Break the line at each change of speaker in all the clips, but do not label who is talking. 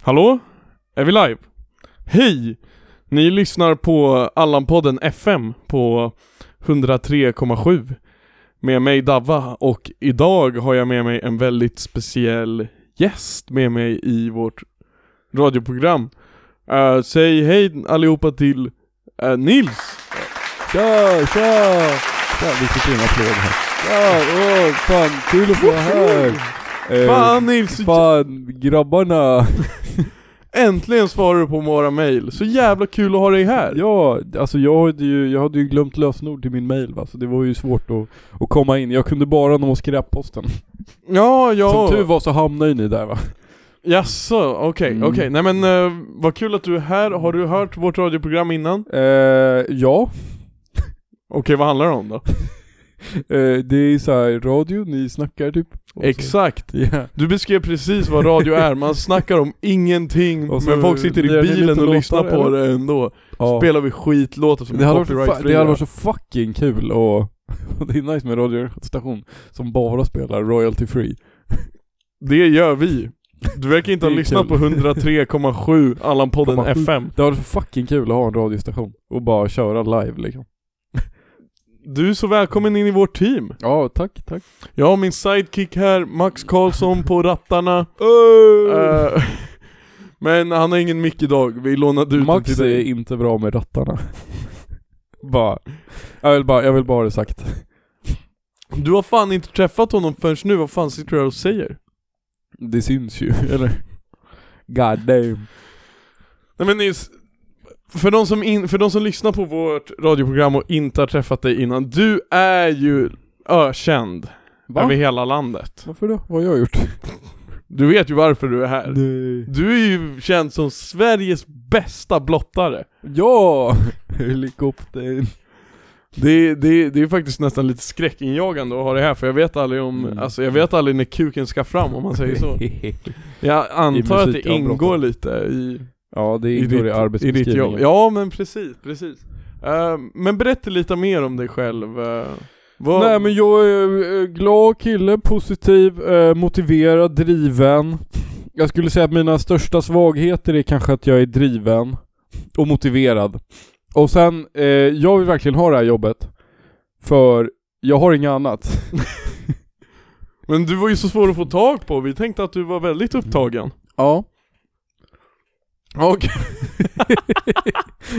Hallå? Är vi live? Hej! Ni lyssnar på Allan-podden FM på 103,7 med mig Davva och idag har jag med mig en väldigt speciell gäst med mig i vårt radioprogram. Eh, säg hej allihopa till eh, Nils!
Tja, tja! Ja, vi fick en applåd här. Ja, åh, fan, kul att få vara här! Eh,
Fan Nils!
fan, grabbarna!
Äntligen svarar du på våra mail, så jävla kul att ha dig här!
Ja, alltså jag hade ju, jag hade ju glömt lösenord till min mail va, så det var ju svårt att, att komma in. Jag kunde bara nå skräpposten.
Ja, ja.
Som tur var så hamnade ju ni där va.
Jaså, okej,
Mm.
okej. Nej men uh, vad kul att du är här. Har du hört vårt radioprogram innan?
Eh, ja,
Okej, vad handlar det om då?
eh, det är så här radio, ni snackar typ. Och så-
Exakt.
Ja.
Du beskrev precis vad radio är. Man snackar om ingenting,
Och så
men folk sitter
gör
i
ni lite
bilen och
låtar,
lyssnar på det ändå.
Ja.
Spelar vi skitlåtar som
Det
är
hade, varit så fa- det
copyrightfria.
hade varit så fucking kul och, och det är nice med radiostation som bara spelar royalty free.
Det gör vi. Du verkar inte ha
Det är
lyssnat på
kul.
103,7 Allan-podden
1,7.
FM.
Det hade varit så fucking kul att ha en radiostation och bara köra live liksom.
Du är så välkommen in i vårt team.
Ja, tack, tack.
Jag har min sidekick här, Max Karlsson på rattarna.
Äh!
Eh, men han har ingen mick idag, vi lånade ut
Max
den till
är
dig.
inte bra med rattarna. bara, jag vill bara, jag vill bara ha det sagt.
Du har fan inte träffat honom förrän nu, vad fan sitter du här och säger?
Det syns ju, eller? God damn.
Nej men Nils, för de, som in, för de som lyssnar på vårt radioprogram och inte har träffat dig innan, du är ju ökänd över hela landet.
Varför då? Vad har jag gjort?
Du vet ju varför du är här.
Nej.
Du är ju känd som Sveriges bästa blottare.
Ja! Helikoptern.
Det, det, det är faktiskt nästan lite skräckinjagande att ha det här för jag vet aldrig om,
Mm.
alltså jag vet aldrig när kuken ska fram om man säger så. Jag antar att det
musikavbrottet.
ingår lite i,
ja, det
i,
ingår
ditt, i
i,
ditt jobb.
arbetsbeskrivningen.
Ja men precis, precis. Eh, men berätta lite mer om dig själv. eh, vad,
Nej men jag är eh, glad kille, positiv, eh, motiverad, driven. Jag skulle säga att mina största svagheter är kanske att jag är driven och motiverad. Och sen, eh, jag vill verkligen ha det här jobbet. För jag har inget annat.
men du var ju så svår att få tag på, vi tänkte att du var väldigt upptagen.
Ja. Mm.
Okej.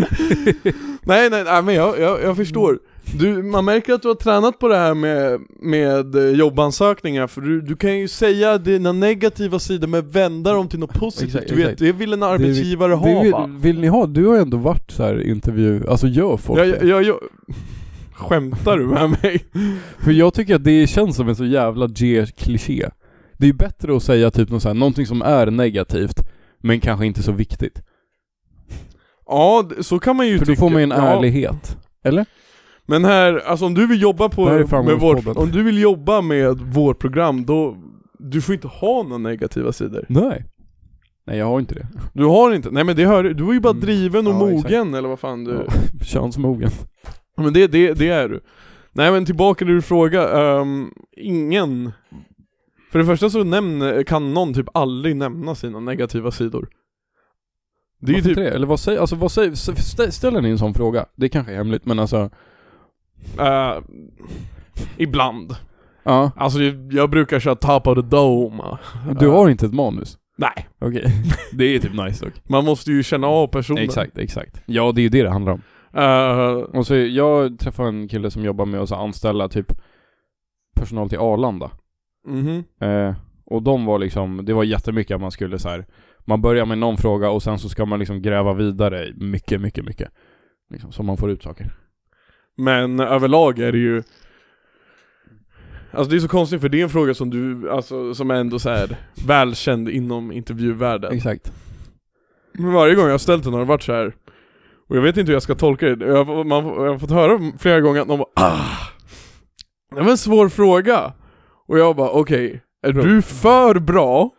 nej, nej nej men jag, jag, jag förstår. Du, man märker att du har tränat på det här med, med eh, jobbansökningar för du, du kan ju säga dina negativa sidor men vända dem till något positivt.
Exakt,
du vet,
exakt.
det vill en
vill-
arbetsgivare ha
Du,
va?
vill, vill ni ha? Du har ändå varit så här intervju, alltså gör folk
Jag,
det?
jag, jag, jag, skämtar du med mig?
För jag tycker att det känns som en så jävla G-kliché. Det är ju bättre att säga typ något så här, någonting som är negativt, men kanske inte så viktigt.
Ja, d- så kan man ju
För då
tycka.
får man ju en
Ja,
ärlighet. Eller?
Men här, alltså om du vill jobba på,
Det här är
med vårt,
framgångspodden.
om du vill jobba med vårt program då, du får inte ha några negativa sidor.
Nej. Nej jag har inte det.
Du har inte, nej men det hör du, var ju bara
Mm.
driven och
Ja,
mogen
exakt.
eller vad fan du...
Ja, Könsmogen.
Men det, det, det är du. Nej men tillbaka till din fråga, Ehm, ingen... För det första så nämn, kan någon typ aldrig nämna sina negativa sidor. Det är ju
Varför
typ,
inte det? Eller vad säger, alltså vad säger, s- stä- ställer ni en sån fråga? Det kanske är hemligt men alltså,
eh, ibland.
ja.
Alltså jag brukar köra top of the dome.
Du har inte ett manus?
Nej,
Okej. Det är typ nice dock.
man måste ju känna av personen.
Exakt, exakt. Ja det är ju det det handlar om.
Eh,
Och så jag träffade en kille som jobbar med att så anställa typ personal till Arlanda.
mhm.
Eh, och de var liksom, det var jättemycket att man skulle så här. man börjar med någon fråga och sen så ska man liksom gräva vidare mycket, mycket, mycket. Liksom, så man får ut saker.
Men överlag är det ju Alltså det är så konstigt för det är en fråga som du, alltså som är ändå så här välkänd inom intervjuvärlden
Exakt.
Men varje gång jag har ställt den har det varit så här Och jag vet inte hur jag ska tolka det, jag, har- man, jag har fått höra flera gånger att någon bara ah, Det var en svår fråga! Och jag bara okej, är
Bra.
du för bra?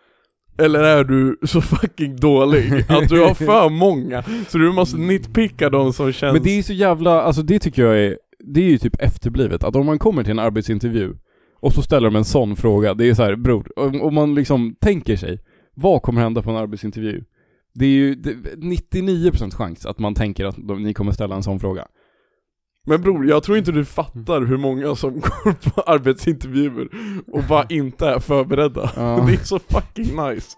Eller är du så fucking dålig att du har för många? Så du måste nitpicka de som känns
Men det är ju så jävla, alltså det tycker jag är, det är ju typ efterblivet att om man kommer till en arbetsintervju och så ställer de en sån fråga, det är så här, bror, om, om man liksom tänker sig, vad kommer hända på en arbetsintervju? Det är ju det, 99% chans att man tänker att de, ni kommer ställa en sån fråga.
Men bror, jag tror inte du fattar hur många som går på arbetsintervjuer och bara inte är förberedda.
Ja.
Det är så fucking nice.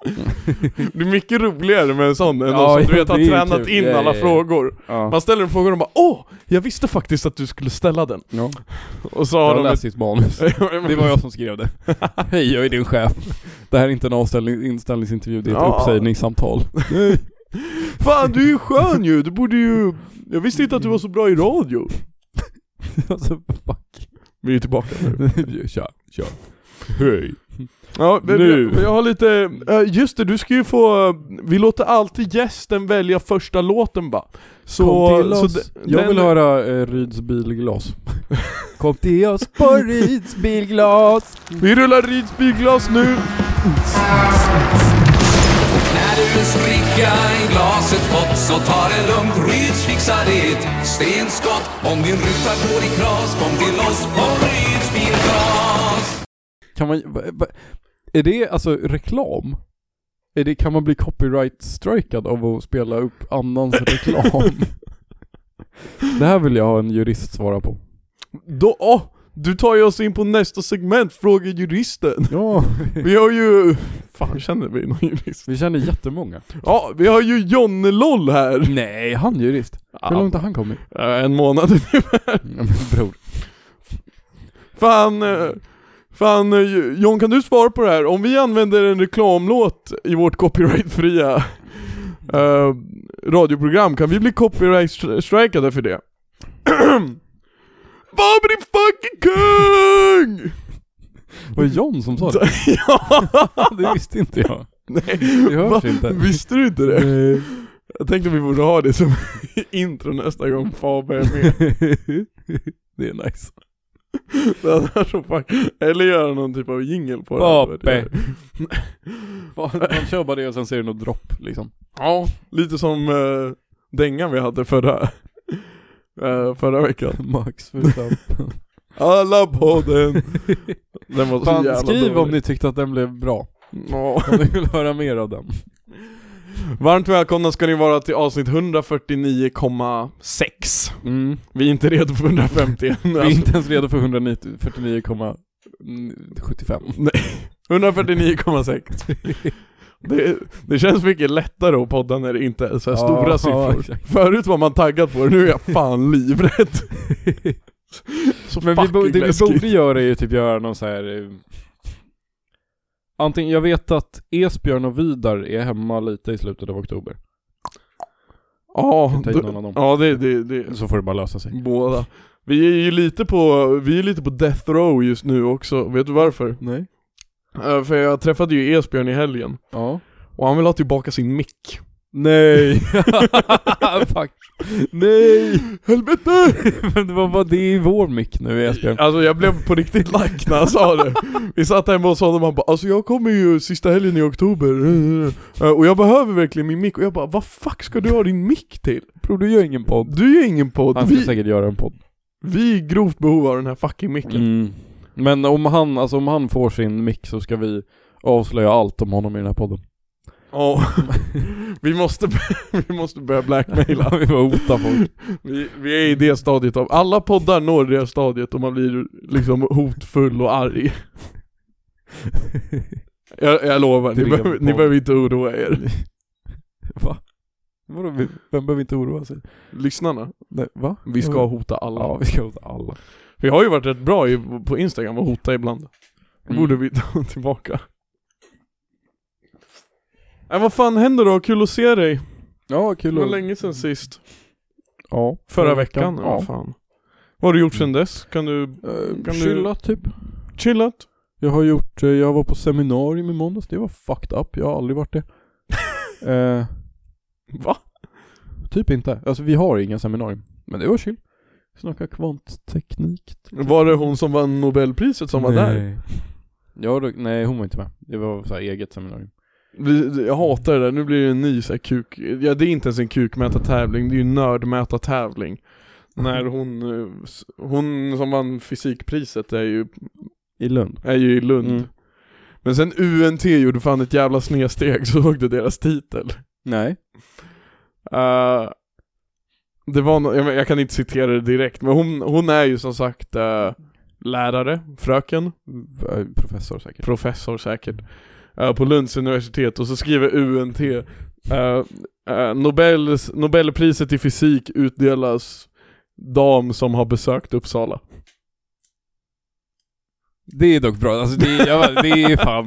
Det är mycket roligare med en sån än
Ja,
någon som du
ja,
vet har
det är
tränat
kul.
in
Ja,
alla
ja, ja.
frågor.
Ja.
Man ställer en fråga och de bara åh, jag visste faktiskt att du skulle ställa den.
Ja.
Och så
Jag
har
har
de
läst sitt manus. Det var jag som skrev det. Hej, jag är din chef. Det här är inte en avställning, inställningsintervju, det är ett
Ja.
uppsägningssamtal.
Fan du är ju skön ju, du borde ju... Jag visste inte att du var så bra i radio.
alltså, fuck.
Vi är tillbaka nu.
kör, kör. Hej.
Ja, men
Nu.
Jag, jag har lite... eh, Just det, du ska ju få... Vi låter alltid gästen välja första låten bara. Så...
Kom till
så
oss.
de-
jag
den-
vill höra eh, Ryds bilglas. Kom till oss på Ryds bilglas.
Vi rullar Rids bilglas nu.
När du en spricka i glaset fått så ta det lugnt, Ryds fixar det. Stenskott, om din ruta går i kras, kom till oss på Ryds bilglas.
Kan man, va, va, är det alltså reklam? Är det, kan man bli copyright strikad av att spela upp annans reklam? det här vill jag ha en jurist svara på.
Då, åh, du tar ju oss in på nästa segment, Fråga juristen.
Ja,
Vi har ju... Fan, känner vi någon jurist?
vi känner jättemånga.
Ja, vi har ju Jonne Loll här.
Nej, han är jurist. Hur långt har han kommit?
Ja, eh, en månad
Ja, men bror.
Fan, eh, fan eh, John kan du svara på det här? Om vi använder en reklamlåt i vårt copyrightfria eh, radioprogram, kan vi bli copyright-strikade för det? Bobby fucking kung!
Var det John som sa det?
ja!
Det visste inte jag.
Nej,
Det hörs
va?
inte.
Visste du inte det? Jag tänkte vi borde ha det som intro nästa gång Faber är med.
det är nice.
Det hade varit så fuck- Eller göra någon typ av jingle på det.
Pape. Man kör bara det och sen ser det något dropp liksom.
Ja, lite som eh, dängan vi hade förra, eh, förra veckan.
Max Verstappen.
Alla podden! Den var så
Fan,
jävla
skriv
dålig.
om ni tyckte att den blev bra.
Ja.
Om ni vill höra mer av den.
Varmt välkomna ska ni vara till avsnitt 149,6. Vi är inte redo för 150 än.
Vi är
Alltså,
inte ens redo för 149,75.
149,6. Det, det känns mycket lättare att podda när det inte är så här
Ja,
stora
ja,
siffror.
exakt.
Förut var man taggad på det, nu är jag fan livrädd. Så
Men vi, bo-
fucking
det vi
läskigt.
borde göra är ju typ göra någon så här. eh, Antingen, jag vet att Esbjörn och Vidar är hemma lite i slutet av oktober.
Ja,
Ta
då-
in någon av dem.
Ja det, det, det,
Så får det bara lösa sig.
båda. Vi är ju lite på, vi är lite på death row just nu också, vet du varför?
Nej.
Eh, för jag träffade ju Esbjörn i helgen,
Ja.
och han vill ha tillbaka sin mick.
Nej! Fuck. Nej!
Helvete!
Men det var bara det i vår mick nu Esbjörn.
Alltså jag blev på riktigt lack när han sa det. Vi satt hemma hos honom och han bara 'Alltså jag kommer ju sista helgen i oktober, eh, och jag behöver verkligen min mick' och jag bara 'Vad fuck ska du ha din mick till?
Bror du gör ingen podd.
Du är ingen podd,
Han ska
vi,
säkert göra en podd.
vi är i grovt behov av den här fucking micken'
Mm. Men om han, alltså om han får sin mick så ska vi avslöja allt om honom i den här podden.
Ja, vi måste, vi måste börja blackmaila.
vi bara hota folk.
Vi, vi är i det stadiet av, alla poddar når det stadiet och man blir liksom hotfull och arg. Jag, jag lovar, ni
Drev
behöver,
podd.
ni behöver inte oroa er.
Va? Vadå, vi- vem behöver inte oroa sig?
Lyssnarna,
Nej, va?
vi ska hota alla.
Mm. Ja, vi ska hota alla.
Vi har ju varit rätt bra i, på Instagram och hota ibland. Det
Mm.
borde vi ta tillbaka. Äh, vad fan händer då? Kul att se dig.
Ja,
Det
kul
var länge sedan sist.
Ja.
Förra veckan, ja.
Ja. Mm.
fan. Vad har du gjort sedan dess? Kan du
Eh,
Kan du-
chilla typ.
chillat?
Jag har gjort, eh, jag var på seminarium i måndags, det var fucked up, jag har aldrig varit det. eh,
Va?
typ inte. Alltså vi har inga seminarium. Men det var chill. Snacka kvantteknik.
Var det hon som vann nobelpriset som var där?
Ja, då, nej hon var inte med. Det var så här eget seminarium.
Vi- Jag hatar det där, nu blir det en ny så här kuk... Ja det är inte ens en kukmätartävling, det är ju en nördmätartävling.
Mm.
När hon, eh, s- hon som vann fysikpriset är ju,
I Lund.
är ju i Lund.
Mm.
Men sen UNT gjorde fan ett jävla snedsteg, såg du deras titel?
Nej.
Eh, det var nå- jag, vet- jag kan inte citera det direkt, men hon, hon är ju som sagt eh, lärare, fröken,
V- eh, Professor säkert.
professor säkert, eh, på Lunds universitet och så skriver UNT eh, eh, Nobels, Nobelpriset i fysik utdelas dam som har besökt Uppsala.
Det är dock bra, alltså det, är- jag, det är fan,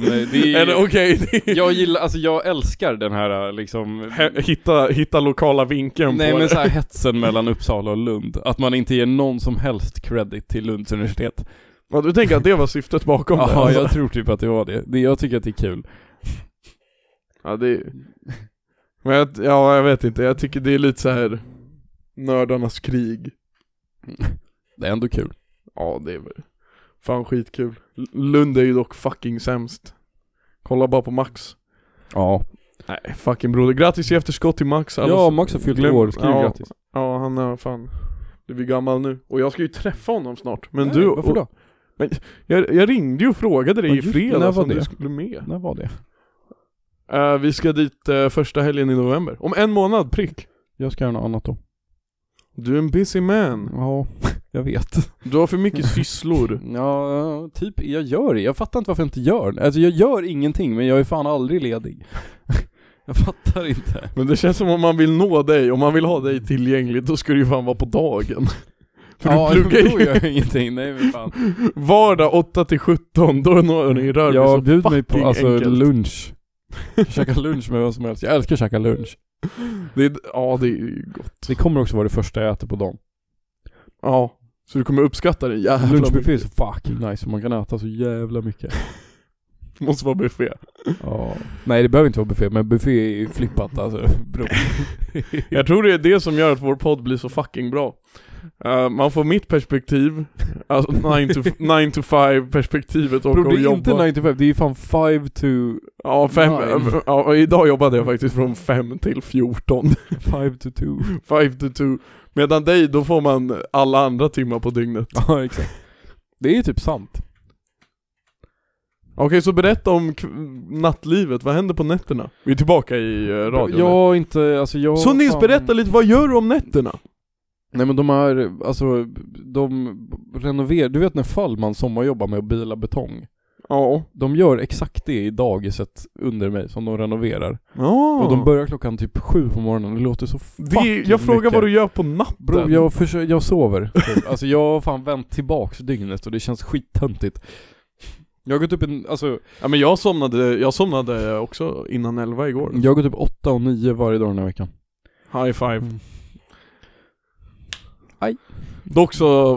det
Eller
är,
okej, det är-
jag gillar, alltså jag älskar den här liksom
He- hitta, hitta lokala vinkeln
Nej
på
men
det.
så här hetsen mellan Uppsala och Lund, att man inte ger någon som helst credit till Lunds universitet.
Ja, du tänker att det var syftet bakom det?
Ja,
alltså?
jag tror typ att det var det. det. Jag tycker att det är kul.
Ja det är... Men jag, ja, jag vet inte, jag tycker det är lite så här Nördarnas krig
Det är ändå kul.
Ja det är väl Fan skitkul L- Lund är ju dock fucking sämst Kolla bara på Max
Ja.
Nej fucking broder, grattis i efterskott till Max alla
Ja,
som-
Max har fyllt
alltså, glöm-
år, skriv
ja,
grattis.
Ja han är fan Du är gammal nu, och jag ska ju träffa honom snart Men
Nej,
du,
varför då?
Jag, jag ringde ju och frågade dig
Ja,
i
just det, när
fredags
var
om du
det?
skulle med
När var det?
Eh, Vi ska dit eh, första helgen i november, om en månad prick
Jag ska göra något annat då.
Du är en busy man
Ja, jag vet.
Du har för mycket sysslor.
Ja, typ, jag gör det. Jag fattar inte varför jag inte gör det. Alltså jag gör ingenting, men jag är fan aldrig ledig. jag fattar inte.
Men det känns som om man vill nå dig, om man vill ha dig tillgänglig, då ska du ju fan vara på dagen. För
ja,
du pluggar
då gör
ju
jag ingenting. Nej men fan.
vardag 8 till 17, då når ni Rörby så
Jag bjuder mig på
fucking
alltså
enkelt.
lunch. Käka lunch med vem som helst. Jag älskar att käka lunch.
Det är, ja, det är ju gott.
Det kommer också vara det första jag äter på dagen.
Ja. Så du kommer uppskatta det jävla
Lunchbuffé är
mycket.
så fucking nice och man kan äta så jävla mycket.
Det måste vara buffé.
Ja. Nej det behöver inte vara buffé, men buffé är ju flippat alltså. Bro.
Jag tror det är det som gör att vår podd blir så fucking bra. Eh, man får mitt perspektiv, alltså 9 to 9 to 5 perspektivet och
Bro,
att
det är inte
jobba.
9 to 5, det är ju fan 5 to...
Ja, fem,
Nine.
ja, idag jobbade jag faktiskt från 5 till 14.
5 to 2.
Five to two Medan dig, då får man alla andra timmar på dygnet
Ja exakt. Det är ju typ sant.
Okej, så berätta om kv- nattlivet, vad händer på nätterna? Vi är tillbaka i eh, radion nu.
Jag har inte, alltså jag...
Så Nils,
fan-
berätta lite, vad gör du om nätterna?
Nej men de här, alltså de renoverar, du vet när Fallman sommarjobbar med att bila betong?
Ja
De gör exakt det i dagiset under mig som de renoverar.
Ja
Och de börjar klockan typ sju på morgonen, det låter så
Ah. det,
fucking
är- Jag frågar
mycket.
vad du gör på natten
Bro, jag, försöker, jag sover. Typ. Alltså jag har fan vänt tillbaks dygnet och det känns skittöntigt. Jag har gått upp en, alltså,
Ja men jag somnade, jag somnade också innan elva igår
jag har gått upp åtta och nio varje dag den här veckan.
High five
Mm. Aj.
Dock så,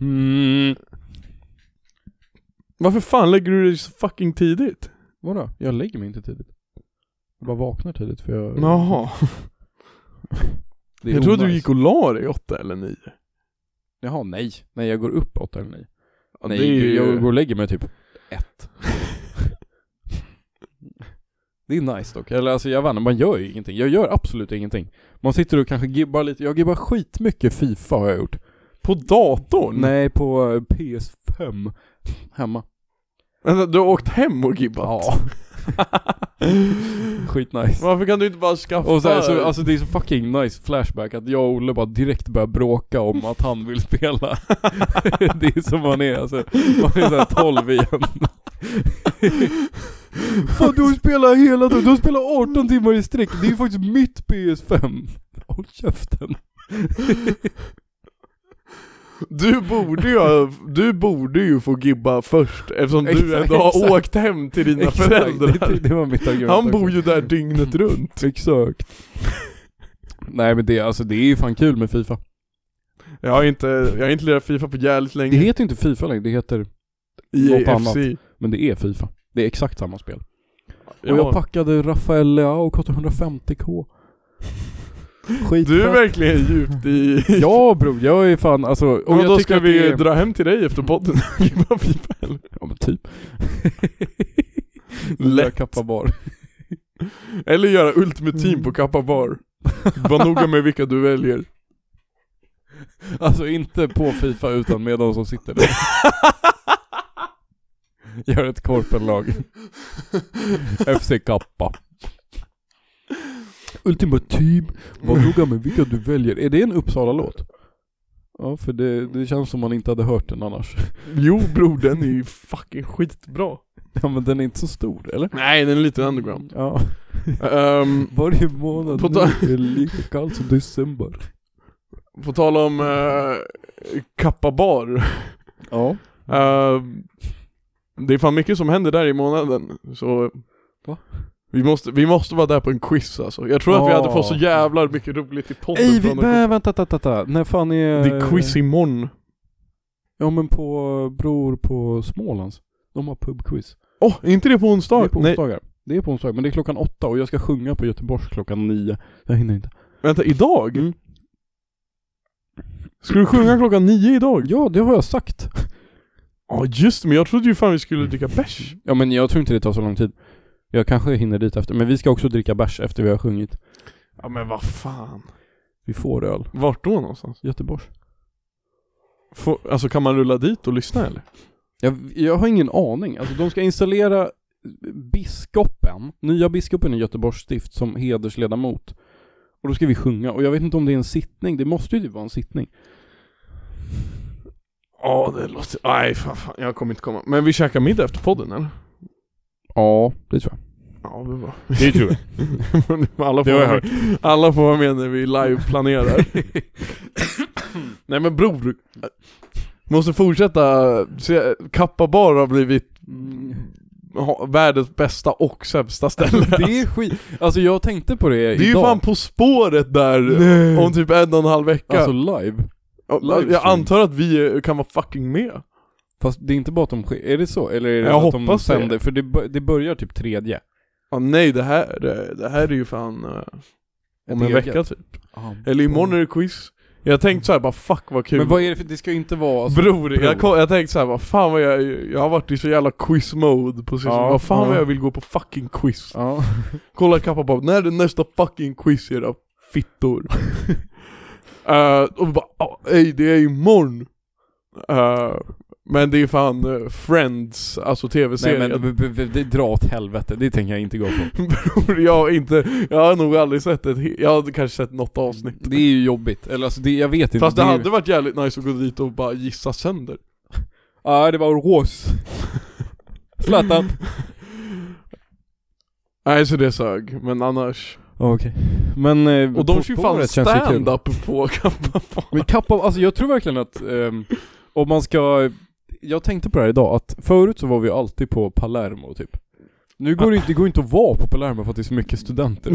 Mm.
varför fan lägger du dig så fucking tidigt?
Vadå? Jag lägger mig inte tidigt. Jag bara vaknar tidigt för jag...
Jaha,
Det är
jag trodde du
onajs.
gick och la dig åtta eller nio
Jaha, nej. Nej, jag går upp åtta eller nio.
Ja,
nej,
det är ju-
jag går och lägger mig typ ett. det är nice dock. Eller alltså jag vet inte, man gör ju ingenting. Jag gör absolut ingenting. Man sitter och kanske gibbar lite. Jag gibbar skitmycket Fifa har jag gjort.
På datorn?
Nej, på eh, PS5. Hemma.
Vänta, du har åkt hem och gibbat?
Ja. Skitnice.
Varför kan du inte bara skaffa...
Och så, här, så, alltså det är så fucking nice flashback att jag och Olle bara direkt börjar bråka om att han vill spela. det är som man är alltså, man är såhär 12 igen. Fan du spelar hela dagen, du spelar 18 timmar i sträck. Det är ju faktiskt mitt PS5. Håll käften.
Du borde ju, du borde ju få gibba först eftersom du
Exakt,
ändå har
exakt.
åkt hem till dina
Exakt,
föräldrar.
Det, typ- det var mitt argument
Han
också.
bor ju där dygnet runt.
Exakt. Nej men det, alltså, det är ju fan kul med Fifa.
Jag har inte, jag har inte lirat Fifa på jävligt
Det
länge.
heter inte Fifa längre, det heter, något
EAFC.
annat. men det är Fifa. Det är exakt samma spel. Och jag
Ja.
packade Rafael Leao, kostade 150k. Skitfett.
Du är verkligen djupt i...
Ja bror, jag är fan alltså...
Och
jag
då
tycker
ska
att
vi
det är-
dra hem till dig efter podden och gibba Fifa eller?
Ja men typ.
Lätt.
Lätt. Kappa bar.
Eller göra Ultimate Team på Kappa Bar. Var noga med vilka du väljer.
Alltså inte på Fifa utan med de som sitter där. Gör ett korpenlag. FC Kappa. Ultimativ, var noga med vilka du väljer. Är det en Uppsala-låt? Ja, för det, det känns som man inte hade hört den annars.
Jo bror, den är ju fucking skitbra.
Ja men den är inte så stor, eller?
Nej, den är lite underground.
Ja.
Ehm,
Varje månad
På
nu
ta-
är det lika kallt som december.
på tal om uh, Kappa bar.
Ja.
Eh, det är fan mycket som händer där i månaden, så...
Va?
Vi måste, vi måste vara där på en quiz alltså. Jag tror att vi
Ja.
hade fått så jävlar mycket roligt i podden
Ey, vi,
från den
nej, vänta, vänta, vänta. När fan är...
quiz. Det är quiz imorgon.
Ja men på eh, Bror på Smålands. De har pubquiz.
Åh, oh, är inte det på
Det
onsdag?
är på
Nej,
onsdagar. Det är på onsdagar, men det är klockan åtta och jag ska sjunga på Göteborgs klockan nio. Jag hinner inte.
vänta, idag?
Mm.
Ska du sjunga klockan nio idag?
Ja, det har jag sagt.
Ja just det, men jag trodde ju fan vi skulle dricka bärs.
Ja men jag tror inte det tar så lång tid. Jag kanske hinner dit efter, men vi ska också dricka bärs efter vi har sjungit.
Ja men vad fan.
Vi får öl.
Vart då någonstans?
Göteborgs.
Får, alltså kan man rulla dit och lyssna eller?
Jag, jag har ingen aning. Alltså de ska installera biskopen, nya biskopen i Göteborgs stift som hedersledamot. Och då ska vi sjunga, och jag vet inte om det är en sittning, det måste ju typ vara en sittning.
Ja det låter, nej fan, fan jag kommer inte komma. Men vi käkar middag efter podden eller?
Ja, det tror jag.
Ja det är bra.
Det tror jag.
alla, får
Det har jag
vara med, alla får vara med när vi liveplanerar. nej men bror. Måste fortsätta, se, Kappa Bar har blivit mm, ha- världens bästa och sämsta ställe.
Det är skit. Alltså jag tänkte på det idag.
Det är ju fan På spåret där om typ en och en halv vecka.
Alltså live.
Ja, jag
livestream.
antar att vi eh, kan vara fucking med.
Fast det är inte bara att de sker, är det så? Eller är det
Jag
att de
hoppas det.
sänder? För det, bör- det börjar typ tredje.
Ja, nej det här, det, det här är ju fan eh, om en
Ett eget.
vecka typ.
Ja.
Eller imorgon är det quiz. Jag tänkte såhär bara fuck Mm. vad kul.
Men vad är det för, det ska ju inte vara alltså,
Bror,
bror.
Jag, kom, jag tänkte såhär, vad fan vad jag, jag har varit i så jävla quiz-mode på sistone,
Ja,
vad fan
ja.
vad jag vill gå på fucking quiz
Ja.
Kolla kappa bara, när är det nästa fucking quiz era fittor? Eh, och bara, "Ja, ey det är imorgon Eh, Men det är fan eh, Friends, alltså
Nej
tv-serien
men b- b- b- det dra åt helvete, det tänker jag inte gå på.
Bror, jag har inte, jag har nog aldrig sett ett, he- jag har kanske sett något avsnitt
Det är ju jobbigt, eller alltså det, jag vet inte.
Fast det
är ju-
hade varit jävligt nice att gå dit och bara gissa sönder
Ja, det var Rås. Zlatan.
Nej så det sög, men annars
Okej. Men... eh,
Och de
På
kör ju fan
spåret känns ju kul.
stand-up på Kappa
Men kappa, alltså jag tror verkligen att ehm, om man ska... Jag tänkte på det här idag, att förut så var vi ju alltid på Palermo typ. Nu går det, inte, det går inte att vara på Palermo för att det är så mycket studenter.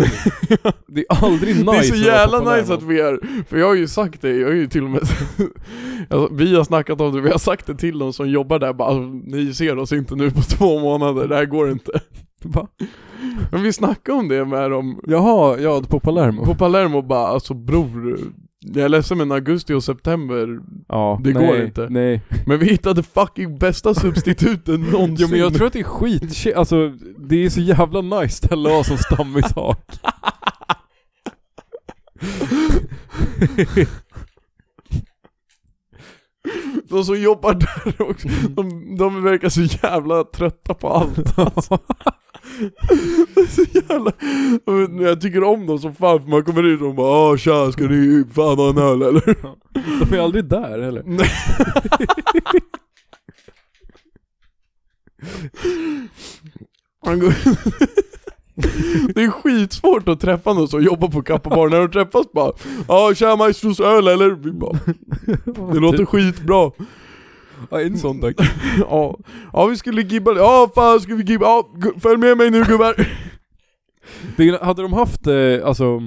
det är aldrig nice
Det är så
att vara på
jävla
Palermo.
nice att vi är, för jag har ju sagt det, jag har ju till och med alltså, Vi har snackat om det, vi har sagt det till de som jobbar där bara, alltså, Ni ser oss inte nu på två månader, det här går inte
Va?
Men vi snackade om det med dem
Jaha, ja på Palermo.
på Palermo bara, alltså bror jag är ledsen men augusti och september,
ja,
det
nej,
går inte.
Nej.
men vi hittade fucking bästa substituten någonsin
Jo men jag tror att det är skit, alltså det är så jävla nice ställe att ha som stammis har.
De som jobbar där också,
Mm.
de, de verkar så jävla trötta på allt alltså. Det är så jävla... Men Jag tycker om dem som fan för man kommer ut och de bara Åh tja, ska ni fan ha en öl eller?
De är aldrig där heller.
Nej. Man går... Det är skitsvårt att träffa någon som jobbar på Kappa Bar, när de träffas bara Ja tja maestros öl eller? Vi bara, det
Typ.
låter skitbra
Ja, en sån dag.
Ja, ja vi skulle gibba, ja fan ska vi gibba, ja gu- följ med mig nu gubbar
Det, hade de haft, eh, alltså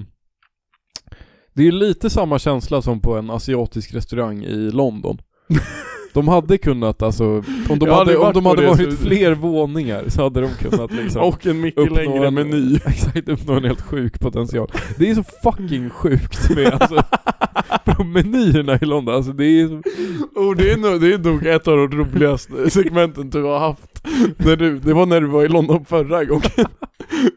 Det är lite samma känsla som på en asiatisk restaurang i London De hade kunnat alltså, om de
Jag hade
hade, om
varit
de
på
hade
det,
varit
så-
fler våningar så hade de kunnat liksom
Och en mycket
uppnå
längre
en-
meny
Exakt, uppnå en helt sjuk potential Det är så fucking sjukt med alltså på menyerna i London, alltså det är så,
Och det är, nog, det är nog ett av de roligaste segmenten du har haft när du, Det var när du var i London förra gången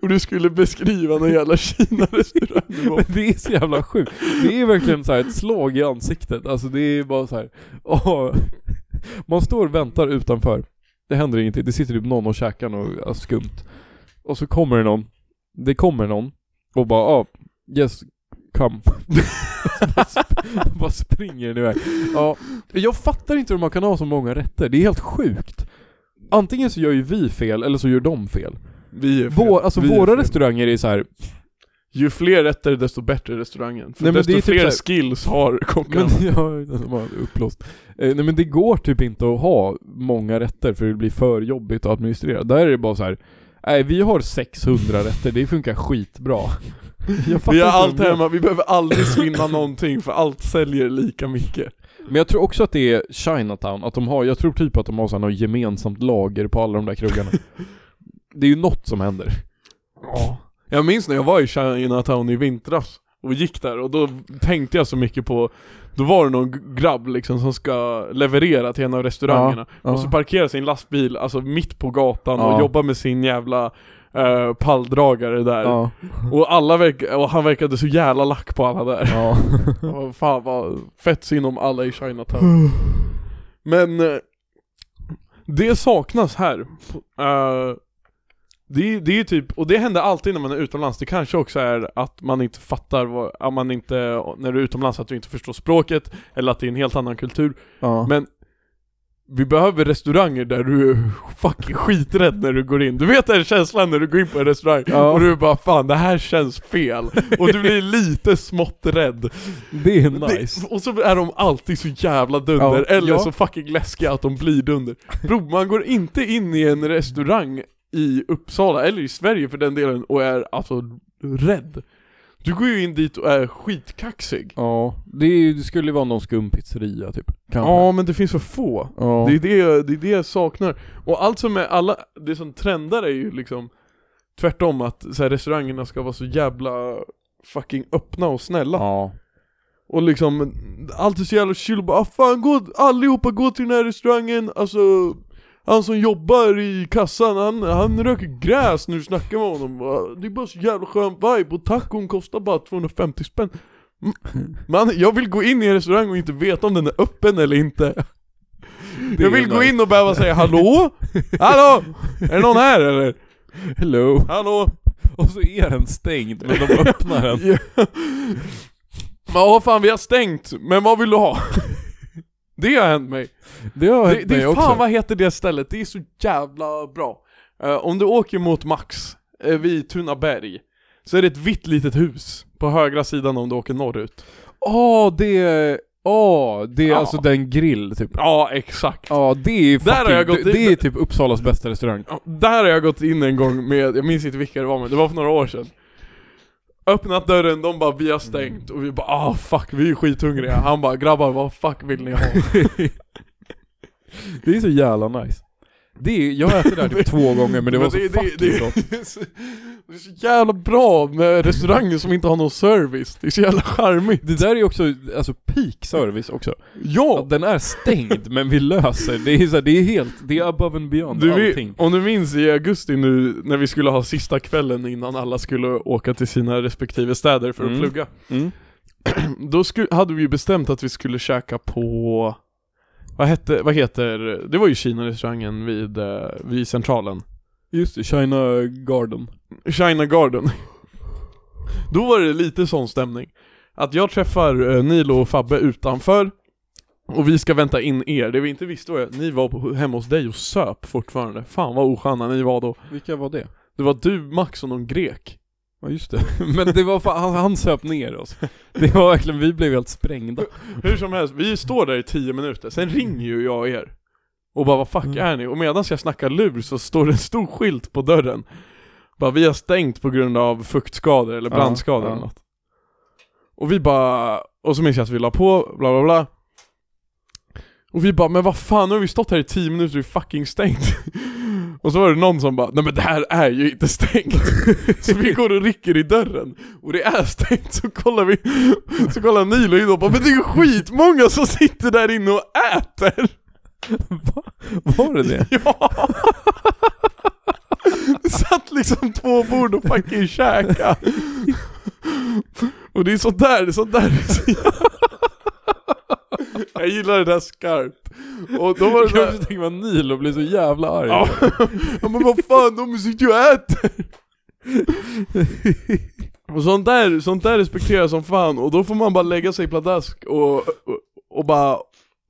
Och du skulle beskriva någon jävla Kina-restaurang du var på.
men det är så jävla sjukt Det är verkligen så här ett slag i ansiktet, alltså det är bara så här. åh. Man står och väntar utanför Det händer ingenting, det sitter typ någon och käkar något alltså, skumt Och så kommer det någon Det kommer någon och bara ah, Yes, come. Vad springer den iväg? Ja, jag fattar inte hur man kan ha så många rätter, det är helt sjukt. Antingen så gör ju vi fel, eller så gör de fel.
Vi är fel.
Vår, alltså
Vi är
våra
fel.
restauranger är så här.
Ju fler rätter desto bättre är restaurangen. För
Nej, men
desto
det är typ
fler
så
skills har
men,
konkurrensen.
ja, alltså, bara uppblåst. Eh, nej men det går typ inte att ha många rätter för det blir för jobbigt att administrera. Där är det bara så här. nej vi har 600 rätter, det funkar skitbra. Jag fattar
Vi har
inte
allt
hur de gör.
hemma, vi behöver aldrig svinna någonting för allt säljer lika mycket.
Men jag tror också att det är Chinatown, att de har, jag tror typ att de har sådana gemensamt lager på alla de där krogarna. det är ju något som händer.
Ja. Jag minns när jag var i Chinatown i vintras och gick där och då tänkte jag så mycket på Då var det någon grabb liksom som ska leverera till en av restaurangerna
ja.
Och så parkerar sin lastbil alltså mitt på gatan
Ja.
och jobbar med sin jävla eh, palldragare där
Ja.
och, alla verk- och han verkade så jävla lack på alla där
ja.
Och Fan vad fett synd om alla i Chinatown Men eh, Det saknas här Eh, det, är- det är typ, och det händer alltid när man är utomlands Det kanske också är att man inte fattar vad, att man inte, när du är utomlands att du inte förstår språket Eller att det är en helt annan kultur
ja.
Men vi behöver restauranger där du är fucking skiträdd när du går in Du vet den känslan när du går in på en restaurang
Ja.
och du bara 'Fan det här känns fel' och du blir lite smått rädd
det är
det-
nice.
och så är de alltid så jävla dunder,
Ja,
eller
ja.
så fucking läskiga att de blir dunder. Bro, man går inte in i en restaurang i Uppsala, eller i Sverige för den delen, och är alltså rädd. Du går ju in dit och är skitkaxig.
Ja, det, är, ju- det skulle ju vara någon skum pizzeria typ. Kanske.
Ja, men det finns för få.
Ja.
Det är det, det är det jag saknar. Och allt som är, alla, det som trendar är ju liksom tvärtom att så här, restaurangerna ska vara så jävla fucking öppna och snälla.
ja.
Och liksom, allt är så jävla chill bara ah, fan gå, allihopa gå till den här restaurangen, alltså Han som jobbar i kassan, han, han röker gräs nu snackar med honom bara, Det är bara så jävla skön vibe och tacon kostar bara 250 spänn Mm. Man, jag vill gå in i en restaurang och inte veta om den är öppen eller inte
Det
Jag
är
vill gå
nice.
in och behöva säga hallå? Hallå? Är det någon här eller?
Hello.
Hallå?
Och så är den stängd, men de öppnar den.
Ja. Men åh fan vi har stängt, men vad vill du ha? Det har hänt mig.
Det har
Det,
hänt
det
mig
är
också.
fan vad heter det stället? Det är så jävla bra. Eh, om du åker mot Max, uh, vid Tunaberg, så är det ett vitt litet hus på högra sidan om du åker norrut.
Ja, det är... Ja, det är
Ja.
alltså den grill typ.
Ja, exakt.
Ja, det är fucking...
Där har jag gått
det,
in.
det är typ Uppsalas bästa restaurang.
Ja, Där har jag gått in en gång med, jag minns inte vilka det var men det var för några år sedan Öppnat dörren, de bara 'Vi har stängt' och vi bara 'Ah fuck, vi är skithungriga' Han bara 'Grabbar vad fuck vill ni ha?'
Det är så jävla nice. Det är, jag har ätit där typ två gånger men det var så fucking gott.
det, är så, det är så jävla bra med restauranger som inte har någon service, det är så jävla charmigt
Det där är också, alltså peak service också.
Ja!
Att den är stängd men vi löser, det är så här, det är helt, det är above and beyond
Du, vi,
allting.
om du minns i augusti nu när vi skulle ha sista kvällen innan alla skulle åka till sina respektive städer för att
Mm.
plugga
Mm.
Då sku, hade vi ju bestämt att vi skulle käka på vad hette, vad heter, det var ju Kina-restaurangen vid, eh, vid centralen
Just det, China Garden.
China Garden Då var det lite sån stämning Att jag träffar eh, Nilo och Fabbe utanför Och vi ska vänta in er, det vi inte visste var att ni var på, hemma hos dig och söp fortfarande Fan vad osköna ni var då
Vilka var det?
Det var du, Max och någon grek
Ja just det. Men det var fan, han, han söp ner oss. Det var verkligen, vi blev helt sprängda.
Hur som helst, vi står där i tio minuter, sen ringer ju jag er Och bara vad fuck
Mm.
är ni? Och medan jag snackar lur så står det en stor skylt på dörren Bara vi har stängt på grund av fuktskador eller
Ja,
brandskador
ja.
eller något Och vi bara, och så minns jag att vi la på, bla bla bla Och vi bara, men vad fan nu har vi stått här i tio minuter och det är fucking stängt Och så var det någon som bara, nej men det här är ju inte stängt Så vi går och rycker i dörren och det är stängt så kollar vi Så kollar Nilo in och bara, men det är ju skitmånga som sitter där inne och äter!
Va? Var det det?
Ja! Det satt liksom två bord och fucking käka Och det är sånt där, det är sånt där Jag gillar det där skarpt Och då var det
Jag
där,
försökte tänka mig att Nilo blev så jävla arg.
Ja. ja men vad fan, de sitter ju och äter! Och sånt där, sånt där respekterar jag som fan och då får man bara lägga sig pladask och, och, och bara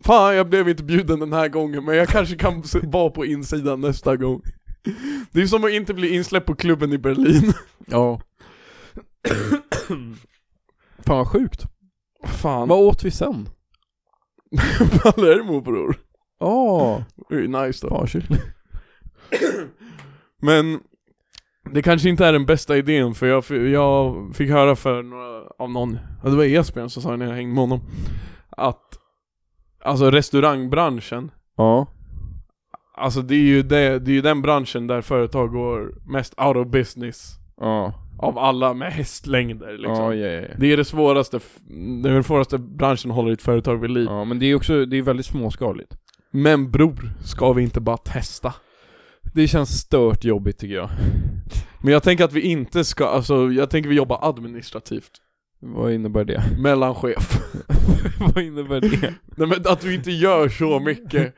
Fan jag blev inte bjuden den här gången men jag kanske kan s- vara på insidan nästa gång Det är som att inte bli insläppt på klubben i Berlin
Ja. Fan vad sjukt.
Fan,
Vad åt vi sen?
Palermo bror
Ja,
Det är ju nice då
fan chill.
Men det kanske inte är den bästa idén för jag, fi- jag fick höra för några, av någon, ja, det var Esbjörn som sa det när jag hängde med honom Att, alltså restaurangbranschen
Ja.
Alltså det är, ju det, det är ju den branschen där företag går mest out of business
Ja.
Av alla med hästlängder liksom
Ja, ja, ja.
Det är det svåraste, f- det är den svåraste branschen att hålla ett företag vid liv
Ja, men det är också, det är väldigt småskaligt.
Men bror, ska vi inte bara testa?
Det känns stört jobbigt tycker jag.
Men jag tänker att vi inte ska, alltså jag tänker vi jobbar administrativt
Vad innebär det?
Mellanchef
Vad innebär det?
Nej men att vi inte gör så mycket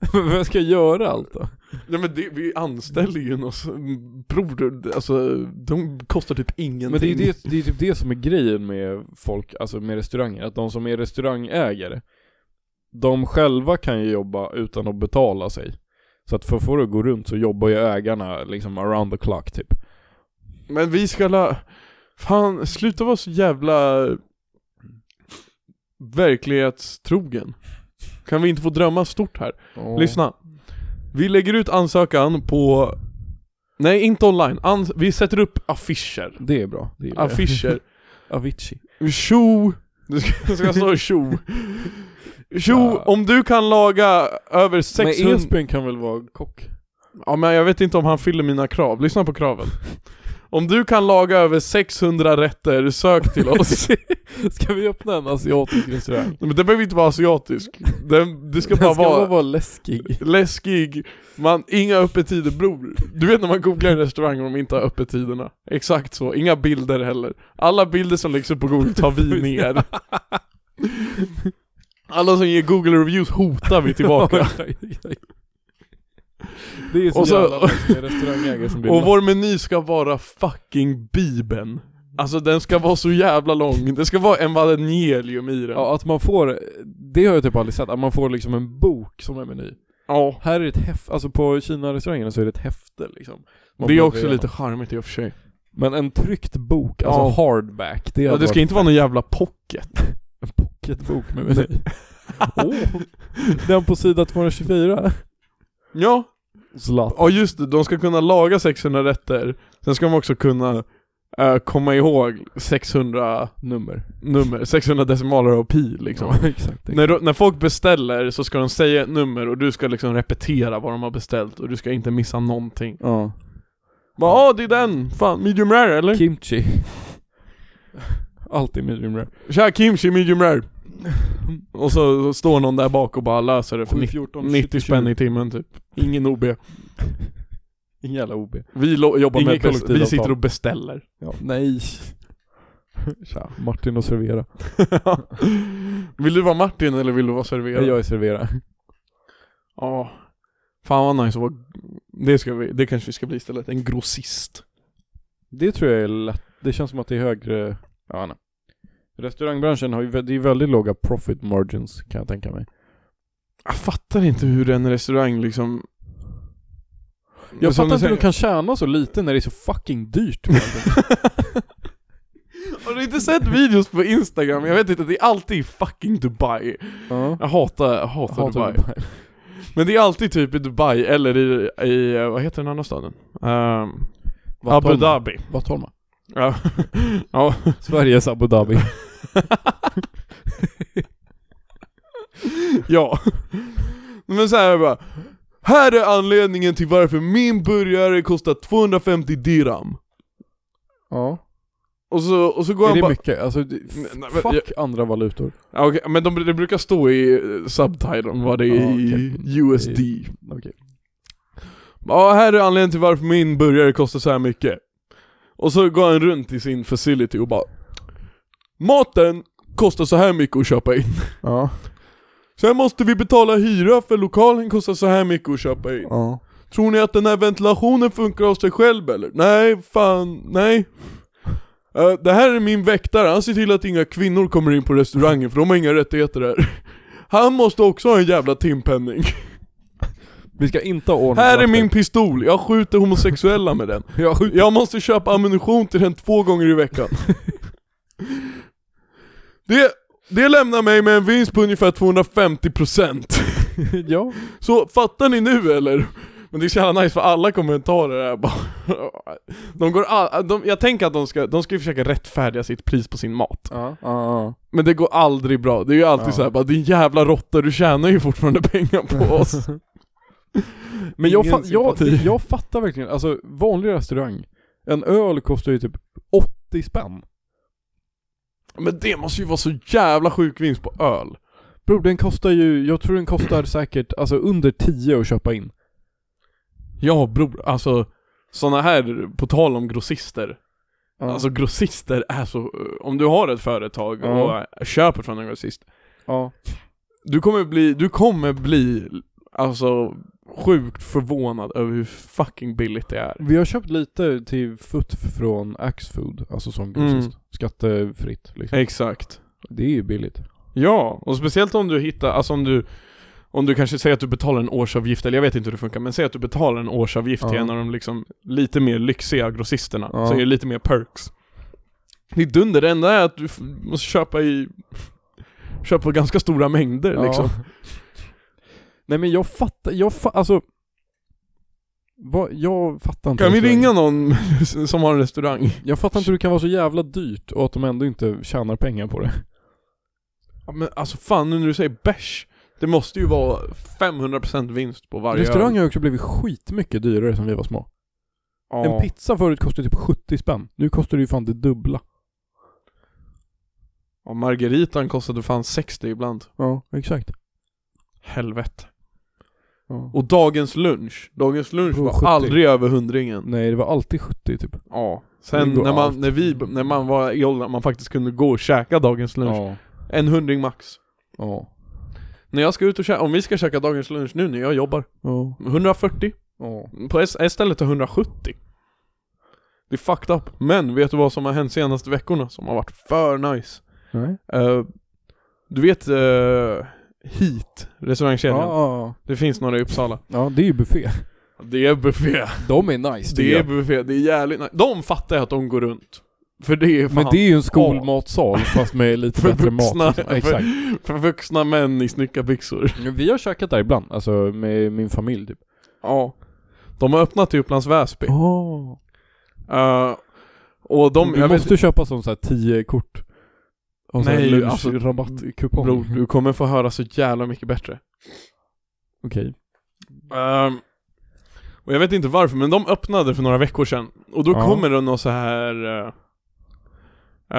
Vad ska jag göra allt då?
Nej men det, vi anställer ju någon som- bror, alltså de kostar typ ingenting
Men det är, ju det, det är typ det som är grejen med folk, alltså med restauranger, att de som är restaurangägare De själva kan ju jobba utan att betala sig Så att för att få det att gå runt så jobbar ju ägarna liksom around the clock typ
Men vi ska la... Fan, sluta vara så jävla verklighetstrogen. Kan vi inte få drömma stort här? Lyssna. Vi lägger ut ansökan på... Nej, inte online. Ans... Vi sätter upp affischer.
Det är bra, det är bra.
Affischer.
Avicii
Tjo! Det ska, det ska stå tjo. Tjo,
Ja.
om du kan laga över 600...
Men Esbjörn kan väl vara kock?
Ja men jag vet inte om han fyller mina krav, lyssna på kraven Om du kan laga över 600 rätter, sök till oss
Ska vi öppna en asiatisk restaurang?
Men det behöver inte vara asiatisk, det, det ska bara vara
läskig
läskig, man, inga öppettider bror Du vet när man googlar en restaurang och de inte har öppettiderna? Exakt så, inga bilder heller Alla bilder som läggs upp på google tar vi ner Alla som ger google reviews hotar vi tillbaka
Det är så,
Och så-
jävla många restaurangägare som blir
Och vår meny ska vara fucking bibeln Alltså den ska vara så jävla lång, det ska vara en evangelium i den
Ja, att man får, det har jag typ aldrig sett, att man får liksom en bok som är meny.
Ja,
Här är det ett häfte, alltså på Kina-restaurangerna så är det ett häfte liksom. Man
det är
plockar
också
igenom.
lite charmigt i och för sig
Men en tryckt bok, alltså hardback, det,
Ja
hade
det ska
varit
inte vara någon jävla pocket
en pocketbok med meny. Åh, den på sida 224.
Ja,
Zlatan.
ja just det, de ska kunna laga 600 rätter Sen ska de också kunna eh, komma ihåg 600
Nummer.
nummer, 600 decimaler av pi liksom
Ja, exakt.
när, du- när folk beställer så ska de säga ett nummer och du ska liksom repetera vad de har beställt och du ska inte missa någonting
Ja.
Bara ah det är den, fan medium rare eller?
Kimchi. Alltid medium rare.
Tja kimchi medium rare Och så, så står någon där bak och bara löser det för 90, 90 spänn i timmen typ Ingen OB
Ingen jävla OB.
Vi lo- jobbar
Ingen
med best-
kollektivavtal.
vi sitter och beställer
Ja, nej. Tja, Martin och servera.
Vill du vara Martin eller vill du vara serverad?
Jag är servera.
Ja Fan vad nice att vara det, ska vi, det kanske vi ska bli istället, en grossist
Det tror jag är lätt. Det känns som att det är högre... Ja, nej. Restaurangbranschen har ju vä- det är väldigt låga profit margins kan jag tänka mig.
Jag fattar inte hur en restaurang liksom
Jag
Som
fattar inte hur
säger-
de kan tjäna så lite när det är så fucking dyrt. med allting.
Har du inte sett videos på instagram? Jag vet inte, det är alltid i fucking Dubai
ja.
Jag hatar, jag hatar,
Hatar
Alltså, Dubai.
Dubai.
Men det är alltid typ i Dubai eller i, i eh, vad heter den andra staden? Ehm,
Vattholma.
Abu Dhabi
Vattholma.
Ja, ja.
Sveriges Abu Dhabi.
ja. Men så här bara Här är anledningen till varför min burgare kostar 250 dirham
ja.
Och så, och så går
Är
han
det
bara
mycket? Alltså, det,
Nej, nej, men
fuck andra valutor.
ja, okej, men de, det brukar stå i eh, subtitlen vad det är
Ja,
i
okej.
USD
Okej.
Ja, här är anledningen till varför min burgare kostar så här mycket. Och så går han runt i sin facility och bara Maten kostar så här mycket att köpa in.
Ja.
Sen måste vi betala hyra för lokalen kostar så här mycket att köpa in.
Ja.
Tror ni att den här ventilationen funkar av sig själv eller? Nej, fan, nej. Eh, det här är min väktare, han ser till att inga kvinnor kommer in på restaurangen för de har inga rättigheter här. Han måste också ha en jävla timpenning.
Vi ska inte ha ordning
Här är min pistol, jag skjuter homosexuella med den.
Jag skjuter...
Jag måste köpa ammunition till den två gånger i veckan. Det, det lämnar mig med en vinst på ungefär 250%.
ja.
Så fattar ni nu eller? Men det är så jävla nice för alla kommentarer här bara. De går all, de, jag tänker att de ska, de ska ju försöka rättfärdiga sitt pris på sin mat.
Ja, ja,
Men det går aldrig bra, det är ju alltid
Ja.
så här bara din jävla råtta, du tjänar ju fortfarande pengar på oss.
Men jag,
Ingen
fa- jag,
sympati.
jag fattar verkligen, alltså vanlig restaurang, en öl kostar ju typ 80 spänn.
Men det måste ju vara så jävla sjuk vinst på öl.
Bror den kostar ju, jag tror den kostar säkert, alltså under 10 att köpa in.
Ja bror, alltså såna här, på tal om grossister. Alltså grossister är så, om du har ett företag och
Ja.
äh, köper från en grossist.
ja.
Du kommer bli, du kommer bli, alltså sjukt förvånad över hur fucking billigt det är.
Vi har köpt lite till futt från Axfood, alltså som
Mm.
grossist. Skattefritt liksom.
Exakt.
Det är ju billigt.
Ja, och speciellt om du hittar, alltså om du om du kanske säger att du betalar en årsavgift, eller jag vet inte hur det funkar, men säg att du betalar en årsavgift till
Ja.
en av de liksom lite mer lyxiga grossisterna,
Ja.
så är det lite mer perks. Det är dunder, det enda är att du f- måste köpa i, köpa ganska stora mängder liksom.
Nej men jag fattar, jag fattar, alltså. Vad, jag fattar inte.
Kan vi
restaurang.
ringa någon som har en restaurang?
Jag fattar inte hur det kan vara så jävla dyrt och att de ändå inte tjänar pengar på det.
Ja, men alltså fan nu när du säger bärs, det måste ju vara 500% vinst på varje
Restauranger
öl.
har också blivit skitmycket dyrare sen vi var små.
Ja.
En pizza förut kostade typ 70 spänn. Nu kostar det ju fan det dubbla.
ja, margaritan kostade fan 60 ibland.
Ja, exakt.
Helvete.
Ja.
Och dagens lunch, dagens lunch
Bro,
var
70.
aldrig över hundringen.
Nej, det var alltid 70 typ.
Ja.
Det
Sen
går
när man,
allt.
när, vi, när man var i åldern, att man faktiskt kunde gå och käka dagens lunch.
Ja.
En hundring max.
Ja.
När jag ska ut och käka, om vi ska käka dagens lunch nu när jag jobbar,
Ja.
140.
Ja.
På ett ett ställe till 170. Det är fucked up. Men vet du vad som har hänt senaste veckorna som har varit för nice?
Nej.
Eh, du vet uh, Heat,
Ja,
restaurangkedjan?
ja,
Det finns några i Uppsala.
ja. ja, det är ju buffé.
Det är buffé.
De är nice.
Det är buffé, det är jävligt nice. De fattar jag att de går runt. För det är fan
Men det är ju en skolmatsal fast med lite
För
bättre mat.
vuxna.
liksom. Exakt.
för vuxna män i snickarbyxor.
Vi har käkat där ibland, alltså med min familj typ.
Ja. De har öppnat i Upplands Väsby.
Oh.
Eh, och de,
du
jag vet,
måste köpa sån såhär 10 kort. Och så
Nej,
Nej, lunch,
alltså,
alltså rabattkupong.
bror, du kommer få höra så jävla mycket bättre.
Okej.
Ehm, och jag vet inte varför, men de öppnade för några veckor sedan. Och då
Ja.
kommer det någon så här eh,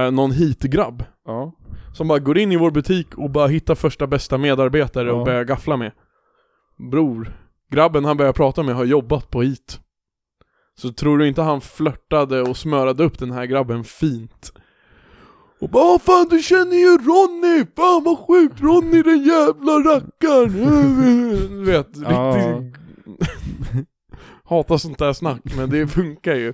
eh, någon hit-grabb.
Ja.
Som bara går in i vår butik och bara hittar första bästa medarbetare och
Ja.
börjar gaffla med. Bror, grabben han börjar prata med har jobbat på hit. Så tror du inte han flörtade och smörade upp den här grabben fint? Och bara "Ah, fan du känner ju Ronny! Fan vad sjukt! Ronny den jävla rackaren! Du vet,
Ja.
riktigt... Hatar sånt där snack men det funkar ju.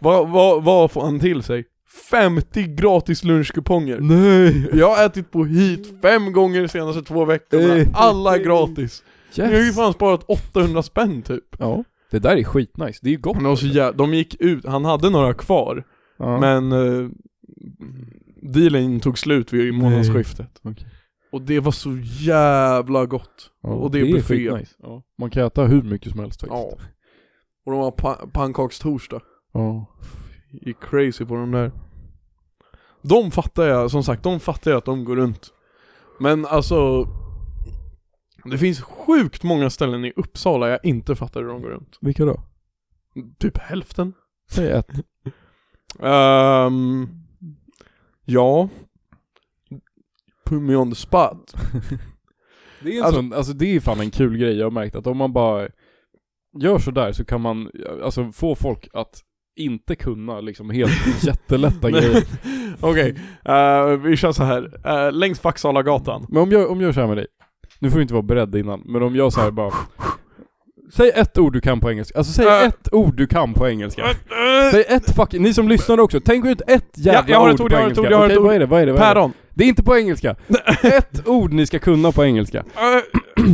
Vad vad- vad får han till sig? 50 gratis lunchkuponger!
Nej!
Jag har ätit på hit fem gånger de senaste två veckorna,
Eh.
alla är gratis! Jag har ju
Yes.
fan sparat 800 spänn typ
Ja. Det där är skitnice, det är ju gott.
Men också, ja, De gick ut, han hade några kvar,
Ja.
men eh, dealen tog slut vid månadsskiftet
Okej.
Och det var så jävla gott!
Ja,
och det är buffé.
skitnice. Ja. Man kan äta hur mycket som helst faktiskt.
Ja. Och de har pa- pannkakstorsdag,
Ja.
gick crazy på de där De fattar jag, som sagt, de fattar jag att de går runt Men alltså det finns sjukt många ställen i Uppsala jag inte fattar hur de går runt.
Vilka då?
Typ hälften.
Säg ett.
Ehm, ja. Put me on the spot.
Det är, en
Alltså-
sån, alltså det är fan en kul grej jag har märkt att om man bara gör sådär så kan man alltså få folk att inte kunna liksom helt jättelätta
Nej.
grejer.
Okej, eh, vi kör så här. Eh, längs Vaxhallagatan.
Men om jag, om jag kör med dig, nu får du inte vara beredd innan, men om jag såhär bara Säg ett ord du kan på engelska. Alltså säg
Äh.
ett ord du kan på engelska. Säg ett fucking... Ni som lyssnar också, tänk ut ett jävla
jag har ett
ord,
ord,
på
jag har ett
engelska.
ord, jag har ett
Okej,
ord.
vad är det? Vad är det? Vad är det?
Päron.
det är inte på engelska. ett ord ni ska kunna på engelska.
Eh,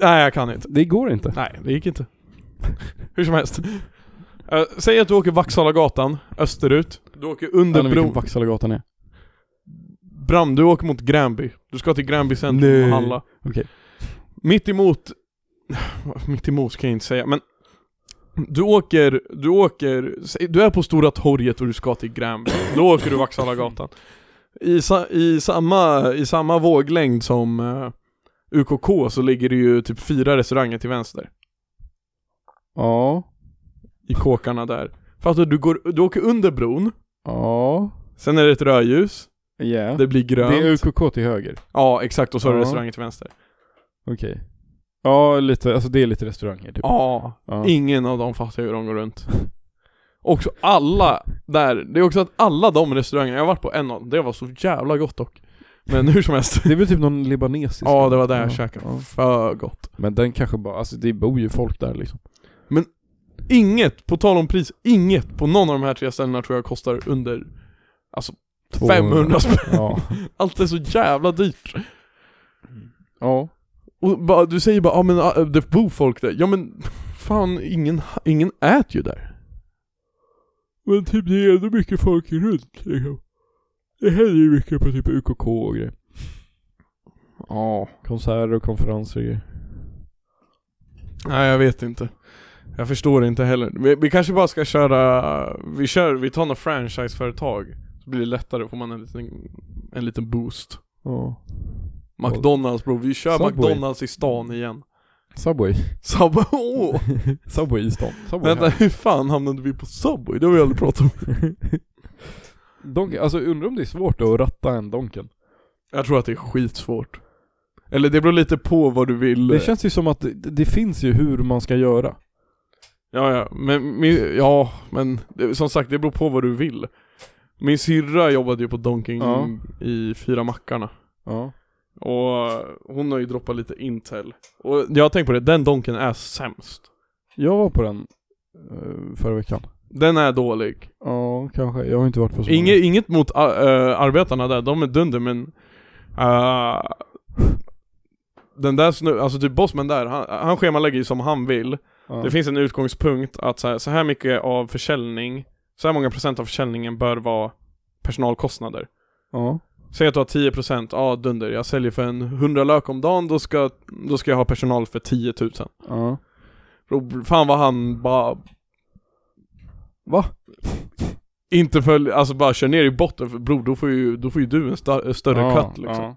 Nej jag kan inte.
Det går inte.
Nej, det gick inte. Hur som helst. Eh, säg att du åker Vaxhallagatan österut. Du åker under
Under vilken
bron.
Vaxhallagatan är.
Bram, du åker mot Gränby. Du ska till Gränby centrum
Nej.
och handla.
Okej.
Mitt emot... Mitt emot ska jag inte säga, men... Du åker, du åker, säg- du är på Stora torget och du ska till Gränby. Då åker du Vaxhallagatan. I, sa, i, samma, I samma våglängd som eh, UKK så ligger det ju typ fyra restauranger till vänster.
Ja.
I kåkarna där. Fast du, går, du åker under bron,
Ja.
sen är det ett rödljus,
Yeah.
det blir
Det
grönt.
är UKK till höger.
Ja exakt, och så är det
Ja.
restauranger till vänster.
Okej. Ja, lite, alltså det är lite restauranger typ.
Ja,
Ja.
Ingen av dem fattar hur de går runt. Också alla där, det är också att alla de restaurangerna, jag har varit på en av dem, det var så jävla gott dock. Men hur som helst.
Det är väl typ någon libanesisk?
ja, det var där jag käkade.
ja.
För gott.
Men den kanske bara, alltså det bor ju folk där liksom.
Inget, på tal om pris, inget på någon av de här tre ställena tror jag kostar under 500 spänn.
Ja.
Allt är så jävla dyrt.
Ja.
Och bara, du säger bara ah, men ah, det bor folk där. Ja men fan, ingen, ingen äter ju där.
Men typ det är ändå mycket folk runt liksom. Det händer ju mycket på typ UKK och grejer.
Ja.
Konserter och konferenser och grejer.
Nej jag vet inte Jag förstår inte heller vi, vi kanske bara ska köra Vi kör, vi tar något franchiseföretag Så blir det lättare, får man en liten, en liten boost
Ja.
McDonalds bro, vi kör
Subway.
McDonalds i stan igen
Subway.
Subway, åh!
Subway i stan. Subway
Vänta
här.
hur fan hamnade vi på Subway? Det har vi aldrig pratat om
Donken, alltså undrar om det är svårt att ratta en Donken.
Jag tror att det är skitsvårt Eller det beror lite på vad du vill
Det känns ju som att det, det finns ju hur man ska göra.
Ja, ja, men, min, ja, men det, som sagt det beror på vad du vill Min syrra jobbade ju på Donken
Ja.
i Fyra Mackarna
Mm. Ja.
Och hon har ju droppat lite intel. Och jag har tänkt på det, den donken är sämst.
Jag var på den eh, förra veckan.
Den är dålig.
Ja, kanske. Jag har inte varit på så
Inge, inget mot a- eh, arbetarna där, de är dunder men... eh, den där snu, alltså typ bossman där, han, han schemalägger ju som han vill.
många. Ja.
Det finns en utgångspunkt att så här, så här mycket av försäljning, så här många procent av försäljningen bör vara personalkostnader.
Ja.
Säg att du har 10%, ja dunder, jag säljer för en 100 lök om dagen, då ska, då ska jag ha personal för 10 000.
Ja.
Då- Fan vad han bara
Va?
inte följer, alltså bara kör ner i botten för bror, då får ju, då får ju du en sta- större
Ja,
cut liksom.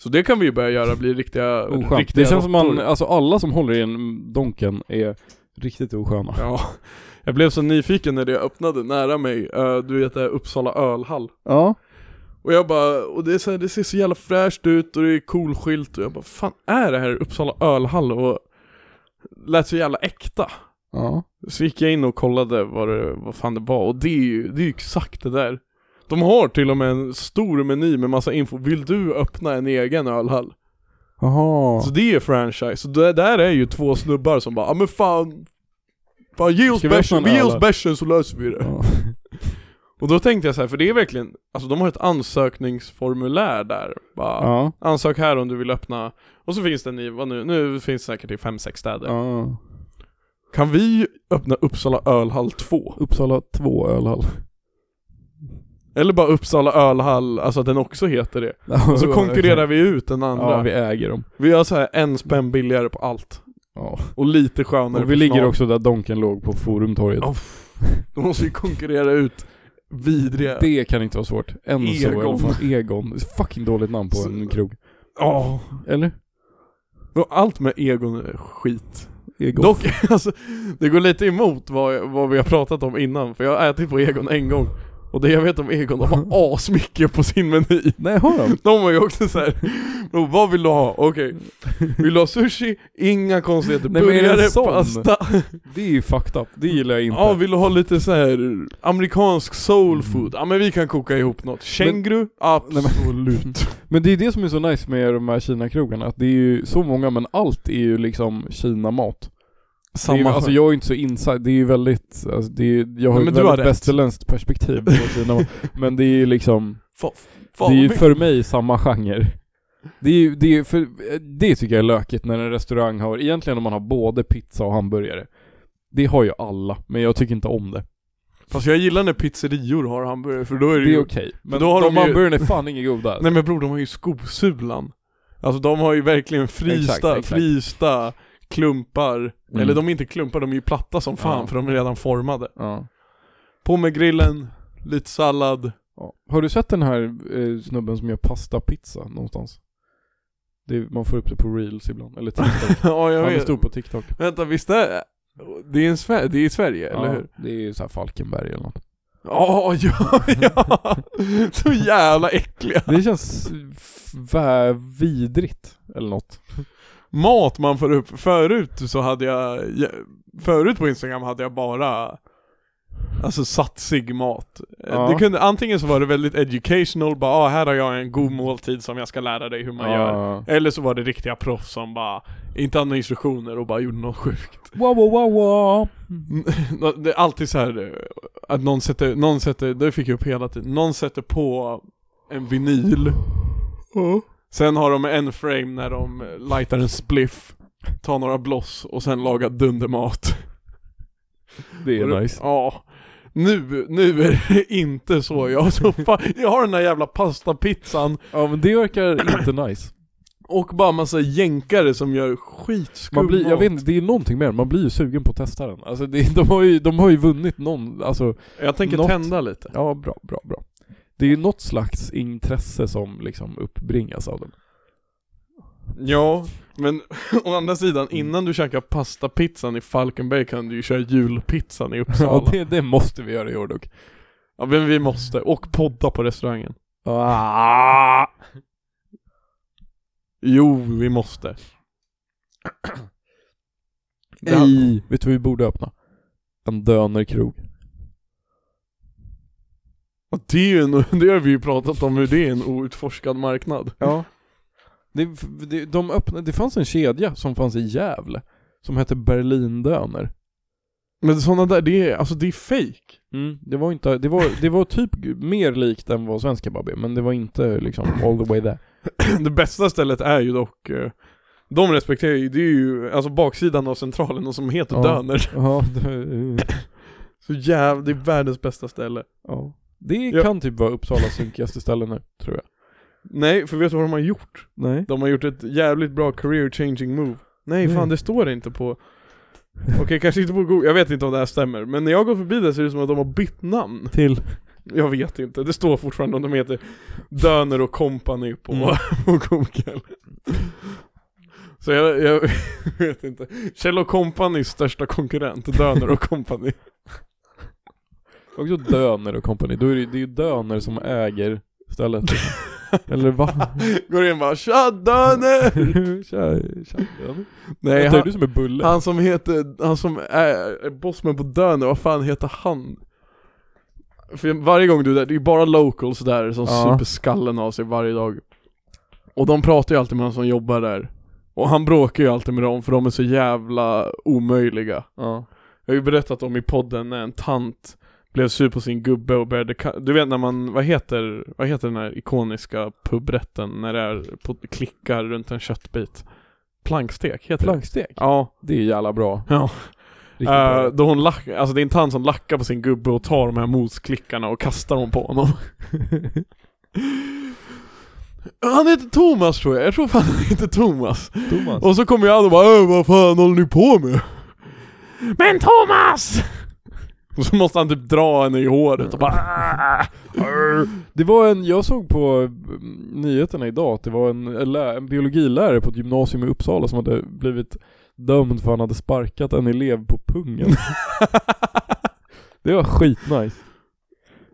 Så det kan vi ju börja göra, bli riktiga,
Ja. Oskönt.
riktiga
Det känns som man,
råttor.
alltså alla som håller i en Donken är riktigt osköna.
Ja. Jag blev så nyfiken när det öppnade nära mig, Eh, du vet det här Uppsala ölhall.
Ja.
Och jag bara, och det, är så här, det ser så jävla fräscht ut och det är cool skylt och jag bara fan är det här Uppsala ölhall? Och lät så jävla äkta.
Ja.
Så gick jag in och kollade vad, det, vad fan det var och det är ju, det är ju exakt det där. De har till och med en stor meny med massa info. Vill du öppna en egen ölhall?
Jaha.
Så det är franchise. Så det där är ju två snubbar som bara, ja men fan, fan ge oss
Ska vi öppna
bärsen,
en
vi ger
öl
oss
då?"
bärsen så löser vi det.
Ja.
Och då tänkte jag så här, för det är verkligen, alltså de har ett ansökningsformulär där. Bara,
Ja.
Ansök här om du vill öppna. Och så finns den i, vad nu, nu finns det säkert i 5-6 städer.
ja.
Kan vi öppna Uppsala ölhall 2?
Uppsala 2 ölhall.
Eller bara Uppsala ölhall, alltså att den också heter det. Och så konkurrerar vi ut den andra.
Ja, vi
vi...
äger dem.
har så här en spänn billigare på allt.
Ja.
Och lite skönare
Och vi ligger
personal.
också där Donken låg på Forumtorget.
Ja, pff. De måste ju konkurrera ut vidriga...
Det kan inte vara svårt. Enso
Egon.
eller vad fan- Egon. Fucking dåligt namn på
Så-
en krog.
Ja.
Eller?
Och Allt med Egon är skit.
Egon.
Dock, alltså, det går lite emot vad, vad vi har pratat om innan, för jag har ätit på Egon en gång Och det jag vet om Egon, de har asmycket på sin meny.
Nej, har de?
De var ju också såhär, vad vill du ha? Okej, vill du ha sushi? Inga konstigheter,
Nej, men är det en
burgare,
sån?
pasta.
Det är ju fucked up, det gillar jag inte.
Ja, vill du ha lite så här amerikansk
Mm.
soul food? Ja men vi kan koka ihop något. Känguru? Absolut.
Men det är ju det som är så nice med de här Kina-krogarna, att det är ju så många men allt är ju liksom Kina-mat. Det är ju, alltså jag är ju inte så insatt, det är ju väldigt, alltså det är, ju- jag har
Nej,
ju
men
ett
du har rätt.
väldigt västerländskt perspektiv på Kina-mat. Men det är ju liksom,
Fa-
det
fan
är ju
vad
för mig samma genre. Det, är, ju- det, är, för, det tycker jag är lökigt när en restaurang har, egentligen om man har både pizza och hamburgare. Det har ju alla, men jag tycker inte om det.
Fast jag gillar när pizzerior har hamburgare för då är det,
Det
ju...
är okej, men
då har
de
de ju-
hamburgarna är fan inga goda. alltså.
Nej men bror, de har ju skosulan. Alltså de har ju verkligen frista,
Exakt, exakt.
frista klumpar.
Mm.
Eller de är inte klumpar, de är ju platta som fan
Ja.
för de är redan formade.
Ja.
På med grillen, lite sallad.
Ja. Har du sett den här eh, snubben som gör pastapizza någonstans? Det är, man får upp det på reels ibland, eller TikTok.
ja jag
Han är
vet.
stor på TikTok.
Vänta, visst är det är, en Sve- det är i Sverige, eller hur?
Det är ju såhär Falkenberg eller något.
Ja, ja, ja! Så jävla äckliga.
Det känns f- vä- vidrigt, eller något.
Mat man får upp, förut så hade jag, förut på instagram hade jag bara Alltså satsig mat. Eh,
Ja.
Det kunde, antingen så var det väldigt educational, bara ah, här har jag en god måltid som jag ska lära dig hur man gör.
Ja.
Eller så var det riktiga proffs som bara, inte hade några instruktioner och bara gjorde något sjukt.
Wow, wow, wow, wow.
Det är alltid så här eh, att någon sätter, någon sätter, det fick jag upp hela tiden, någon sätter på en vinyl Sen har de en frame när de eh, lightar en spliff Tar några bloss och sen lagar dundermat
Det
Och
är
det-
nice.
Ja nu, nu är det inte så jag sopar, jag har den där jävla pastapizzan
Ja men det verkar inte nice.
och bara massa jänkare som gör skitskum
Man blir, jag
mat.
vet inte, det är någonting mer, man blir ju sugen på att testa den. Alltså det, de, har ju, de har ju vunnit någon, alltså
Jag tänker
Något-
tända lite
Ja, bra, bra, bra. Det är ju något slags intresse som liksom uppbringas av dem.
Ja, men å andra sidan
Mm.
innan du käkar pastapizzan i Falkenberg kan du ju köra julpizzan i
Ja,
Uppsala
det, det måste vi göra i år dock.
Ja men vi måste, och podda på restaurangen
Ah.
Jo, vi måste Det här-
Nej. Vet du vad vi borde öppna? En dönerkrog.
Och det, är ju en, det har vi ju pratat om hur det är en outforskad marknad.
Ja. Det, det, de öppnade, det fanns en kedja som fanns i Gävle som hette Berlindöner.
Men sådana där, det är, alltså det är fake.
Det var inte, det var, det var typ mer likt än vad svenska babb är, men det var inte liksom all the way there.
Det bästa stället är ju dock, eh, de respekterar ju, det är ju alltså baksidan av centralen och som heter
Ja.
Döner.
Ja, det,
Så jävla, det är världens bästa ställe.
ja. det
Ja.
kan typ vara Uppsalas sunkigaste ställe nu, tror jag.
Nej, för vet du vad de har gjort?
Nej.
De har gjort ett jävligt bra career changing move. Nej
Nej.
fan, det står det inte på Okej, kanske inte på Google, jag vet inte om det här stämmer. Men när jag går förbi det ser det ut som att de har bytt namn.
Till?
Jag vet inte, det står fortfarande om de heter Döner och Company på,
Mm.
på Google Så jag, jag vet inte Kjell och Companys största konkurrent, Döner och Company
Också Döner och kompani. Då är det, det är ju Döner som äger stället. Eller va?
Går in bara 'Tja Döner!'
Tja, tja, Döner.
Nej
Vänta, är du
han,
som är Bulle?
han som heter, han som är, är bossman på Döner, vad fan heter han? För varje gång du är där, det är ju bara locals där som
Ja.
super skallen av sig varje dag Och de pratar ju alltid med han som jobbar där Och han bråkar ju alltid med dem för de är så jävla omöjliga
Ja.
Jag har ju berättat om i podden när en tant blev sur på sin gubbe och började ka- Du vet när man, vad heter, vad heter den här ikoniska pubrätten när det är på, klickar runt en köttbit? Plankstek, heter det?
Plankstek.
Ja,
Det är jävla bra.
ja.
Riktigt
Eh,
bra.
då hon lack, alltså det är en tant som lackar på sin gubbe och tar de här mosklickarna och kastar dem på honom Han heter Thomas tror jag, jag tror fan han heter Thomas
Thomas.
och så kommer jag och bara äh, vad fan håller ni på med? Men Thomas! Och så måste han typ dra henne i håret och bara "Äh."
Det var en, jag såg på mm, nyheterna idag att det var en, en, lä- en biologilärare på ett gymnasium i Uppsala som hade blivit dömd för att han hade sparkat en elev på pungen. det var skitnice.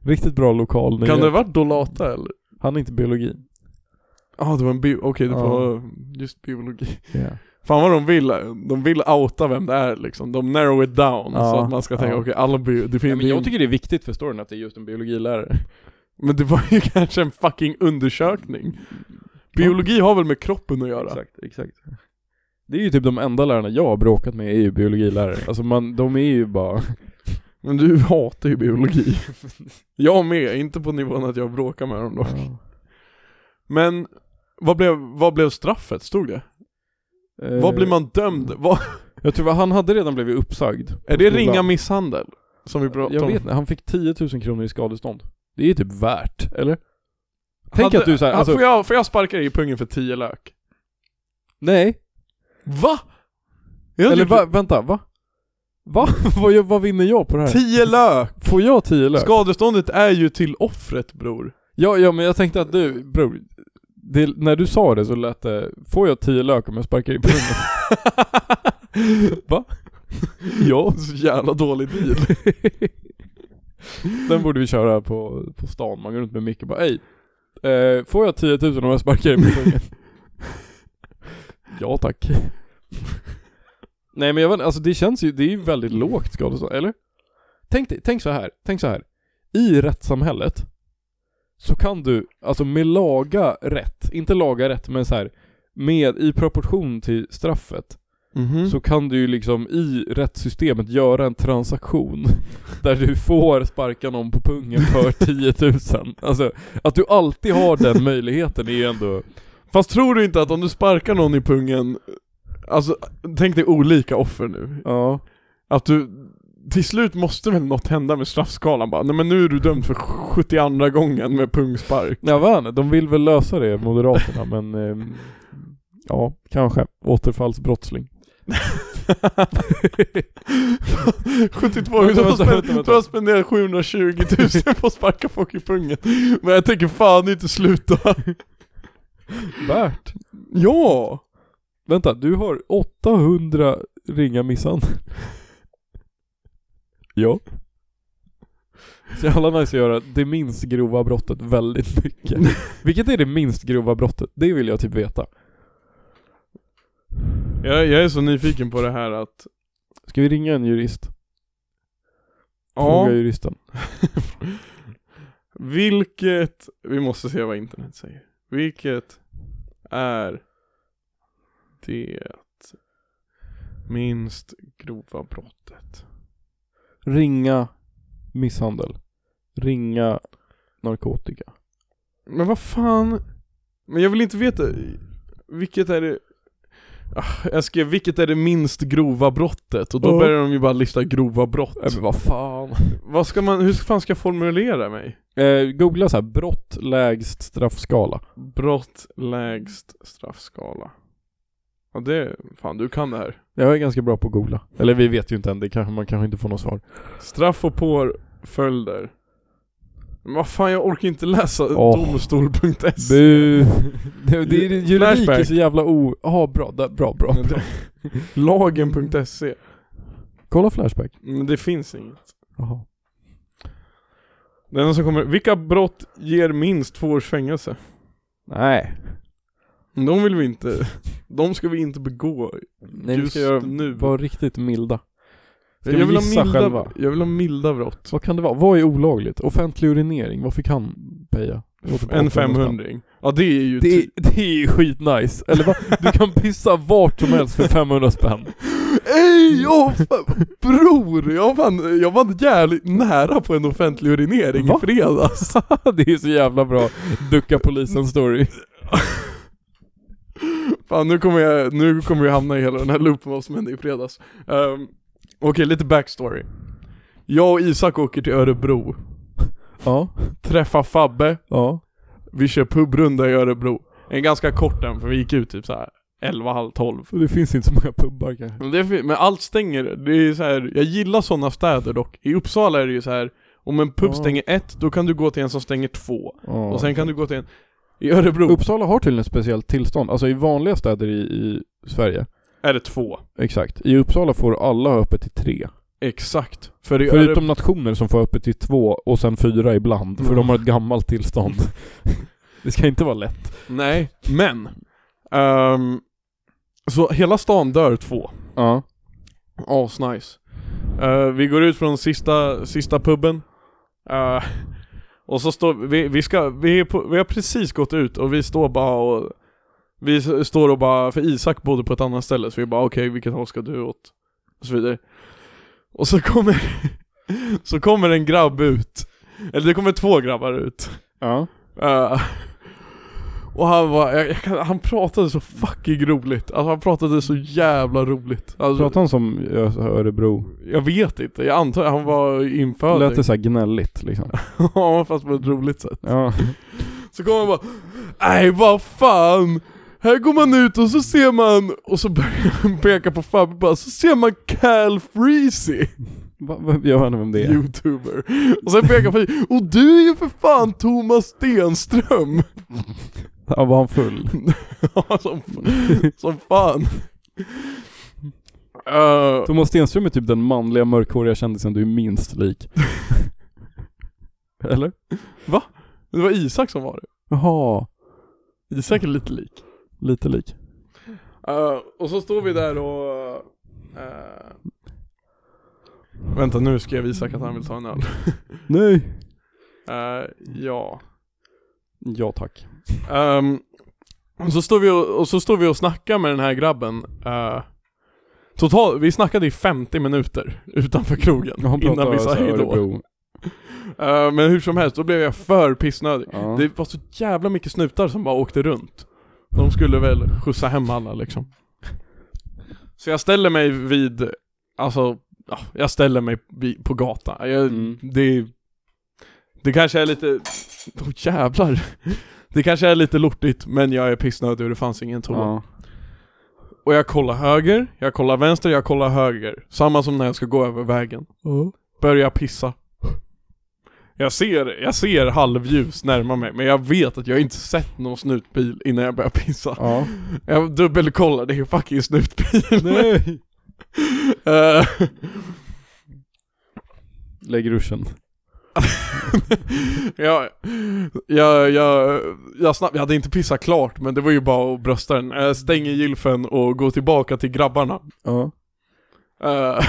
Riktigt bra lokal
Kan det ha
nyhet.
varit Dolata eller?
Han är inte biologi.
Ja ah, det var en bio, okej det
Ja.
var just biologi Fan vad de vill, de vill outa vem det är liksom, de narrow it down
Ja,
så att man ska tänka
ja.
okej alla bio, det finns
Ja, men
ingen-
jag tycker det är viktigt för storyn att det är just en biologilärare.
Men det var ju kanske en fucking undersökning Biologi har väl med kroppen att göra?
Exakt, exakt. Det är ju typ de enda lärarna jag har bråkat med är ju biologilärare. Alltså man, de är ju bara...
Men du hatar ju biologi Jag med, inte på nivån att jag bråkar med dem dock Men vad blev, vad blev straffet? Stod det?
Eh,
vad blir man dömd? Vad,
Jag tror att han hade redan blivit uppsagd.
är
på
det
skolan.
ringa misshandel? Som vi pratade
Jag
om?
vet inte, han fick 10 000 kronor i skadestånd. Det är typ värt, eller? Tänk
Hade-
att du såhär,
Ja,
alltså,
får, jag, får jag sparka dig i pungen för 10 lök?
nej.
Va? Jag
Eller
tycker-
va, vänta, va? Va? vad, gör- vad vinner jag på det här?
10 lök!
Får jag 10 lök?
Skadeståndet är ju till offret bror.
Ja, ja men jag tänkte att du, bror. Det, när du sa det så lät det, får jag 10 lök om jag sparkar i pungen? Va?
ja. Så jävla dålig deal.
Den borde vi köra på, på stan, man går runt med Micke och bara Ey, eh, får jag 10 000 om jag sparkar i pungen? ja tack. Nej men jag vet inte, alltså det känns ju, det är ju väldigt lågt skadestånd, eller? Tänk, dig- tänk så här, tänk så här. I rättssamhället så kan du, alltså med laga rätt, inte laga rätt men så här med, i proportion till straffet
Mm.
så kan du ju liksom i rättssystemet göra en transaktion där du får sparka någon på pungen för 10 000. Alltså att du alltid har den möjligheten är ju ändå...
Fast tror du inte att om du sparkar någon i pungen, alltså tänk dig olika offer nu.
Ja.
Att du, till slut måste väl något hända med straffskalan bara, nej men nu är du dömd för 72 gången med pungspark.
Jag vet inte, de vill väl lösa det Moderaterna men... ehm, ja, kanske. Återfallsbrottsling.
72
Vänta,
du, har
vänta,
spen-
vänta, vänta.
du har spenderat 720 000 på att sparka folk i pungen. Men jag tänker fan det är inte slut där.
Värt.
Ja!
Vänta, du har 800 ringa misshandel. Ja. Så jävla nice att göra det minst grova brottet väldigt mycket. Vilket är det minst grova brottet? Det vill jag typ veta.
Jag, jag är så nyfiken på det här att,
Ska vi ringa en jurist?
ja,
Fråga juristen.
vilket, vi måste se vad internet säger. Vilket är det minst grova brottet?
Ringa misshandel. Ringa narkotika.
Men vad fan? Men jag vill inte veta, vilket är det Ah, jag skrev vilket är det minst grova brottet? Och då
Ja.
börjar de ju bara lista grova brott.
Nej men vad fan.
Vad ska man, hur fan ska jag formulera mig?
Eh, googla så här, brott lägst straffskala.
Brott, lägst, straffskala. Ja det, fan du kan det här.
Jag är ganska bra på att googla. Eller vi vet ju inte än, det kanske, man kanske inte får något svar.
Straff och påföljder. Men vad fan jag orkar inte läsa
Åh.
domstol.se.
Bu. Det, det, är- juridik är
Flashback.
så jävla o... Ja, bra, där, bra, bra.
Lagen.se.
Kolla Flashback.
Men E. Mm, det finns inget.
Jaha.
Det enda som kommer, vilka brott ger minst två års fängelse?
Nej.
De vill vi inte, de ska vi inte begå
Nej, vi
just
ska göra,
nu.
vara riktigt milda. Ska
jag,
vi
vill ha
gissa
milda,
själva?
jag vill ha milda brott.
Vad kan det vara? Vad är olagligt? Offentlig urinering, vad fick han peja?
En 500 Ja det är ju
Det,
typ
är- det är ju skitnice, eller vad? Du kan pissa vart som helst för 500 spänn.
Ey, jag, bror! Jag vann, jag vann jävligt nära på en offentlig urinering
Va?
i fredags.
det är ju så jävla bra ducka polisen story.
Fan nu kommer jag, nu kommer jag hamna i hela den här loopen vad som hände i fredags. Ehm, Okej, lite backstory. Jag och Isak åker till Örebro,
Ja,
träffar Fabbe,
ja.
vi kör pubrunda i Örebro. En ganska kort en för vi gick ut typ så här 11, halv 12.
Och det finns inte så många pubbar kanske.
Men, det är, fi- men allt stänger, det är så här, jag gillar sådana städer dock. I Uppsala är det ju så här om en pub
Ja.
stänger ett, då kan du gå till en som stänger två.
Ja.
Och sen kan du gå till en I Örebro
Uppsala har tydligen ett speciellt tillstånd, alltså i vanliga städer i, i Sverige,
är det två
exakt. I Uppsala får alla ha öppet till tre.
Exakt. För i Örebro...
Förutom nationer som får öppet till två och sen fyra ibland, för
Mm.
de har ett gammalt tillstånd. det ska inte vara lätt.
Nej, men. ehm, så hela stan dör två.
Ja.
Asnice. Eh, vi går ut från sista, sista puben. Eh, och så står vi, vi ska, vi, är på, vi har precis gått ut och vi står bara och Vi s- står och bara, för Isak bodde på ett annat ställe så vi bara okej vilket håll ska du åt? Och så vidare. Och så kommer, så kommer en grabb ut. Eller det kommer två grabbar ut.
Ja.
Eh, och han var, jag, jag, kan- han pratade så fucking roligt. Alltså han pratade så jävla roligt. Alltså,
Pratar han som Ö- Örebro?
jag vet inte, jag antar han var inföding.
Lät det såhär gnälligt liksom?
Ja fast på ett roligt sätt.
Ja.
Så kommer han bara Nej vad fan! Här går man ut och så ser man, och så börjar han peka på Fabbe bara, så ser man Cal Freezy,
Va, va, jag vet inte vem det är.
youtuber. Och sen pekar han på och du är ju för fan Thomas Stenström!
Ja, var han full?
Ja, som, som fan. Eh,
Thomas Stenström är typ den manliga mörkhåriga kändisen du är minst lik. Eller?
det var Isak som var
Jaha,
det. Isak är lite lik.
lite lik.
Eh, och så står vi där och... eh, Vänta nu skrev Isak att han vill ta en öl.
Nej!
Eh, ja.
Ja tack.
Ehm, och, så står vi och, och så står vi och snackar med den här grabben. Uh, total, vi snackade i 50 minuter utanför krogen
Han pratar
innan vi sa
så här
hejdå.
Örebro.
Eh, men hur som helst, då blev jag för pissnödig.
Ja.
Det var så jävla mycket snutar som bara åkte runt. De skulle väl skjutsa hem alla liksom. Så jag ställer mig vid, alltså, ja, jag ställer mig vid, på gatan. Jag,
Mm.
Det Det kanske är lite, åh jävlar. Det kanske är lite lortigt, men jag är pissnödig och det fanns ingen toa.
Ja.
Och jag kollar höger, jag kollar vänster, jag kollar höger. Samma som när jag ska gå över vägen. Börjar pissa. Jag ser, jag ser halvljus närma mig, men jag vet att jag inte sett någon snutbil innan jag börjar pissa.
ja.
Jag dubbelkollar, det är fucking snutbil.
Nej!
Eh,
Lägg ruschen.
jag, jag, jag, jag, snabb, jag hade inte pissat klart, men det var ju bara att brösta den. Jag stänger gylfen och går tillbaka till grabbarna.
Ja.
Eh,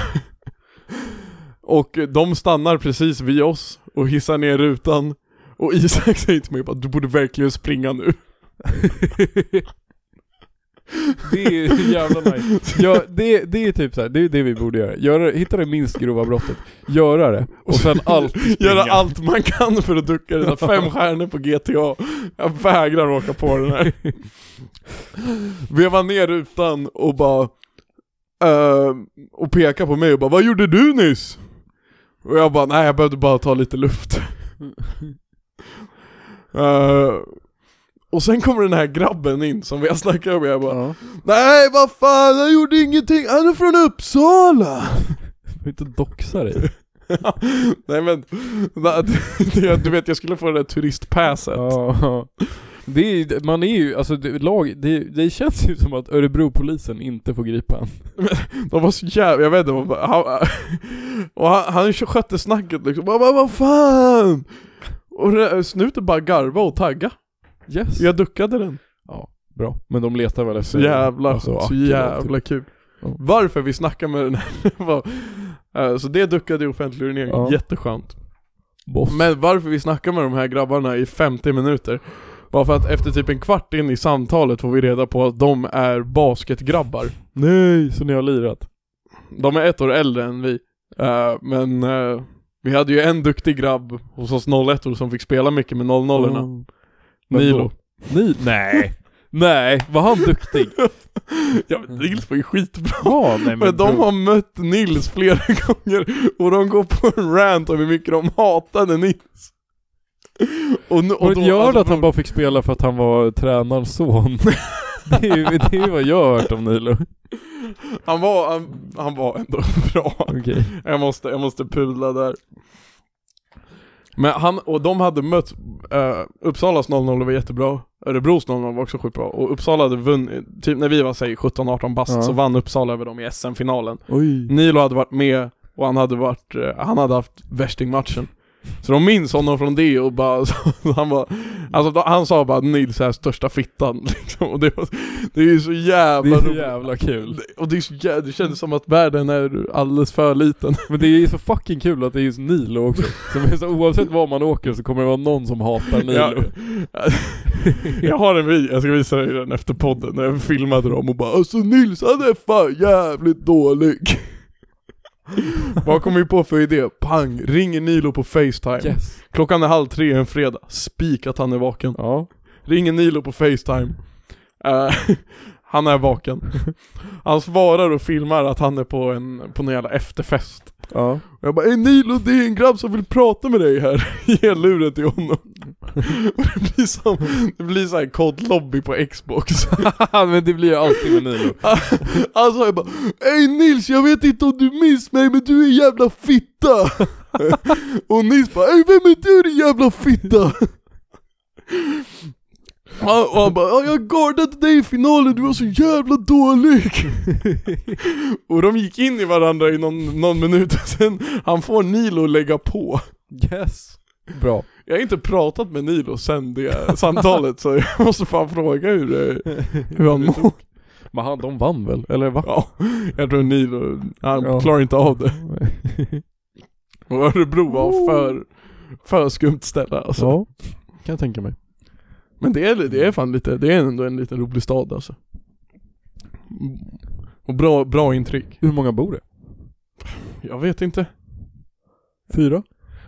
och de stannar precis vid oss och hissar ner rutan och Isak säger till mig bara du borde verkligen springa nu.
Det är så jävla nice. Ja, det, det är typ så här, det är det vi borde göra. göra. Hitta det minst grova brottet, göra det, och sen alltid springa.
Göra allt man kan för att ducka dessa fem stjärnor på GTA. Jag vägrar åka på den här. Veva ner rutan och bara eh, och peka på mig och bara 'Vad gjorde du nyss?' Och jag bara 'Nej jag behövde bara ta lite luft' Eh, Och sen kommer den här grabben in som vi har snackat med, jag bara
Ja.
'Nej vad fan, jag gjorde ingenting, han är från Uppsala'
Du får inte doxa dig.
Nej men, na- det- du vet jag skulle få det där turistpasset.
Ja. Det är, man är ju, alltså det, lag, det, det känns ju som att Örebropolisen inte får gripa en.
De var så jävla, jag vet inte, man bara, han, och han, han skötte snacket liksom, bara, "Vad- vad fan? Och det där snuten bara garva och tagga.
Yes.
Jag duckade den.
Bra. Men de letar väl efter...
Så jävla,
alltså,
så
Akilov, typ.
jävla kul.
Ja.
Varför vi snackar med den här var, eh, så det duckade i offentlig urinering,
Ja.
jätteskönt.
Boss.
Men varför vi snackar med de här grabbarna i 50 minuter Bara för att efter typ en kvart in i samtalet får vi reda på att de är basketgrabbar
Nej, så ni har lirat.
De är ett år äldre än vi
Mm.
Eh, Men eh, vi hade ju en duktig grabb hos oss 01 som fick spela mycket med 00orna
Mm. Men
Nilo.
då- Ni, nej. nej, var han duktig?
Ja men Nils var ju skitbra
Ja, nej men,
Men de
bro.
har mött Nils flera gånger och de går på en rant om hur mycket de hatade Nils Och, nu-
Och
då-
gör
alltså,
att han bara fick spela för att han var tränarens son? det, är, ju- det är ju vad jag har hört om Nilo.
han var, han, han var ändå bra
Okej.
Jag måste, jag måste pudla där. Men han, och de hade mött, eh, Uppsalas 0-0 var jättebra, Örebros 0-0 var också skitbra, och Uppsala hade vunnit, typ när vi var säg 17-18 bast
Ja.
så vann Uppsala över dem i SM-finalen.
Oj.
Nilo hade varit med Och han hade varit, eh, han hade haft värstingmatchen. Så de minns honom från det och bara, så han bara, alltså han sa bara Nils är största fittan liksom. Och det, var, det är ju så
Det
jävla
är så
roligt.
jävla kul.
Och det är så jävla, det känns som att världen är alldeles för liten.
Men det är ju så fucking kul att det är just Nilo också. Som är så, oavsett var man åker så kommer det vara någon som hatar Nilo.
Ja. Jag har en video, jag ska visa dig den efter podden, när jag filmade dem och bara 'Alltså Nils han är fan jävligt dålig' Vad kom vi på för idé? Pang! Ringer Nilo på Facetime
Yes.
Klockan är halv tre en fredag, spik att han är vaken
Ja.
Ringer Nilo på Facetime Eh, Han är vaken Han svarar och filmar att han är på en, på någon jävla efterfest
Ja.
och jag bara 'Ey Nilo, det är en grabb som vill prata med dig här' Ge luren till honom Och det blir som, det blir såhär kod lobby på Xbox
men det blir ju alltid med Nilo.
Alltså jag bara 'Ey Nils, jag vet inte om du minns mig men du är en jävla fitta' Och Nils bara 'Ey vem är du din jävla fitta?' Ja, Och han bara "Ja, 'Jag guardade dig i finalen, du var så jävla dålig' Och de gick in i varandra i någon, någon minut och sen han får Nilo lägga på
Yes. Bra.
Jag har inte pratat med Nilo sen det samtalet så jag måste fan fråga hur, det- hur han mår
Men han, de vann väl? Eller va?
Ja, jag tror Nilo, han
Ja.
klarar inte av det Och Örebro var för, för skumt ställe alltså
Ja. Kan jag tänka mig.
Men det är, det är fan lite, det är ändå en liten rolig stad alltså Mm. Och bra, bra intryck
Hur många bor det?
Jag vet inte
Fyra?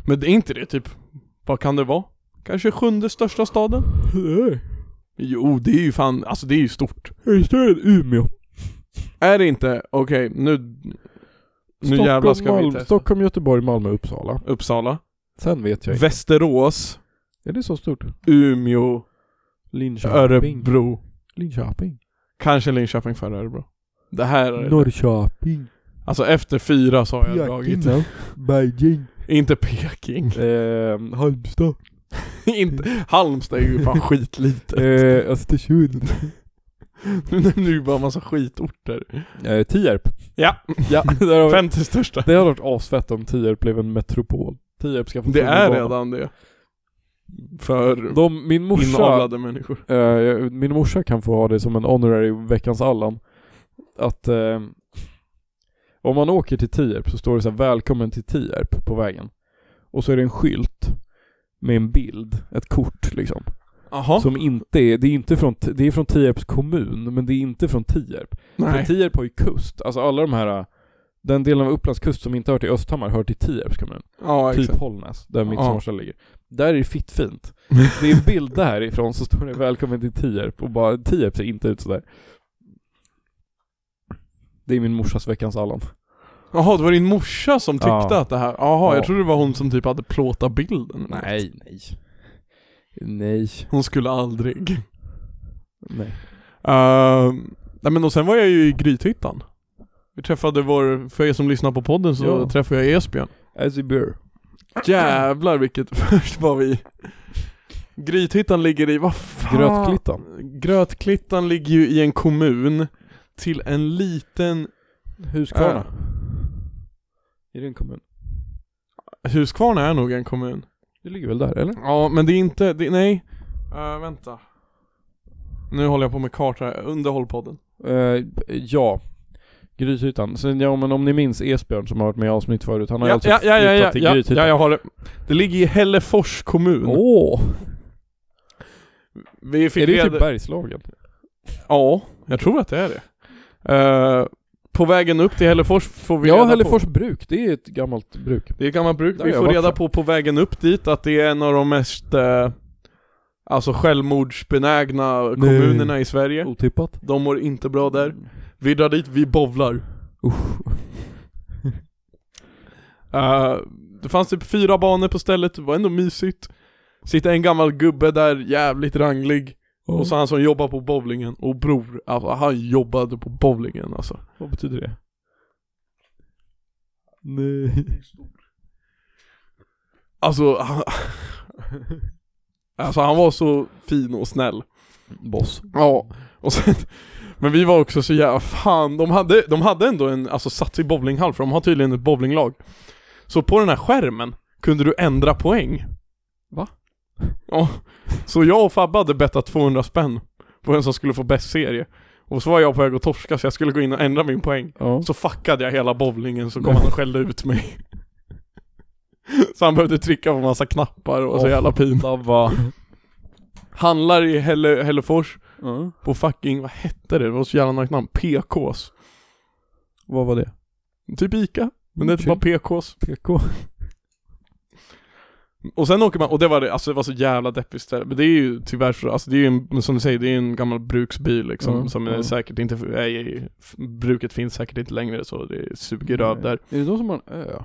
Men det är inte det typ, vad kan det vara? Kanske sjunde största staden?
Nej.
Jo, det är ju fan, alltså det är ju stort
Är det större än Umeå?
Är det inte, okej nu, nu jävlar ska vi
Malmö,
testa
Stockholm, Göteborg, Malmö, Uppsala.
Uppsala
Sen vet jag inte.
Västerås
Är det så stort?
Umeå,
Linköping.
Örebro
Linköping.
Kanske Linköping före Örebro Det här är det.
Norrköping.
Alltså efter fyra så har jag dragit
Beijing.
Inte Peking Ehm,
Eh, Halmstad.
inte, Halmstad är ju fan skitlitet
Eh, Östersund.
Nu nämner du bara massa skitorter
Eh, Tierp.
Ja,
Ja, där har vi.
femte största
det hade varit asfett om Tierp blev en metropol. Tierp ska få
Det är
tunnelbana.
redan det För
De, min morsa
inavlade människor
Eh, jag- min morsa kan få ha det som en honorary veckans Allan. Att eh, om man åker till Tierp så står det så här välkommen till Tierp på vägen. Och så är det en skylt med en bild, ett kort liksom.
Jaha,
Som inte är, det är inte från, Ti- det är från Tierps kommun men det är inte från Tierp. För
nej
Tierp har ju kust, alltså alla de här, eh, den delen av Upplands kust som inte hör till Östhammar hör till Tierps kommun.
Ja
Typ
exakt
Hållnäs, där mitt
Ja.
sommarställe ligger. Där är det fitt fint. Det är en bild därifrån så står det 'Välkommen till Tierp' och bara Tierp ser inte ut sådär. Det är min morsas veckans Allan.
Jaha, det var din morsa som tyckte
Ja.
att det här, jaha jag
Ja.
trodde det var hon som typ hade plåtat bilden
nej. Nej.
Hon skulle aldrig
Nej.
Eh, nej men och sen var jag ju i Grythyttan. Vi träffade vår, för er som lyssnar på podden så
Ja.
träffade jag Esbjörn.
As a beer.
Jävlar vilket, först var vi Grythyttan ligger i, vad fan?
Grötklittan.
Grötklittan ligger ju i en kommun till en liten
Huskvarna.
Äh.
Är det en kommun?
Huskvarna är nog en kommun
Det ligger väl där, eller?
Ja men det är inte, det, nej Eh, Vänta Nu håller jag på med kartor här, underhåll podden
Eh, ja. Grythyttan. Sen, ja men om ni minns Esbjörn som har varit med i avsnitt förut, han har ju
Ja,
alltså
ja, ja, ja,
flyttat
ja,
till
ja,
Grythyttan.
ja, jag har det Det ligger i Hällefors kommun
Åh!
Vi fick
Är det
reda-
typ Bergslagen?
Ja, jag tror att det är det. Eh, på vägen upp till Hällefors får vi
Ja,
reda
Hällefors
på...
bruk, det är ett gammalt bruk.
Det är gammalt bruk.
Där
Vi
har jag
får
varit
reda
där.
på på vägen upp dit att det är en av de mest eh, alltså självmordsbenägna kommunerna i Sverige.
Otippat.
De mår inte bra där. Vi drar dit, vi bovlar.
Usch.
Eh, det fanns typ fyra banor på stället, det var ändå mysigt. Sitter en gammal gubbe där, jävligt ranglig. Och så han som jobbar på bowlingen, och bror, alltså han jobbade på bowlingen alltså.
Vad betyder det? Nej.
Alltså, han, Alltså han var så fin och snäll.
Boss.
Ja. Och sen, men vi var också så jävla, fan, de hade, de hade ändå en, alltså satt sig i bowlinghall för de har tydligen ett bowlinglag. Så på den här skärmen kunde du ändra poäng.
Va?
Ja. Så jag och Fabbe hade bettat 200 spänn på vem som skulle få bäst serie. Och så var jag på väg att torska så jag skulle gå in och ändra min poäng.
Ja.
Så fuckade jag hela bowlingen så kom han och skällde ut mig. Så han behövde trycka på massa knappar och så
Åh.
jävla pin.
Dabba.
Handlar i Helle, Hellefors
Ja.
på fucking, vad hette det? Det var så jävla märkt namn. PKs.
Vad var det?
Typ Ica. Men det är bara PKs.
PK.
Och sen åker man, och det var det, alltså det var så jävla deppigt ställe. Men det är ju tyvärr så, alltså det är ju en, som du säger, det är ju en gammal bruksbil liksom
Mm,
som är
mm.
säkert inte, nej, bruket finns säkert inte längre så det suger röv där.
Är det de som har en ö?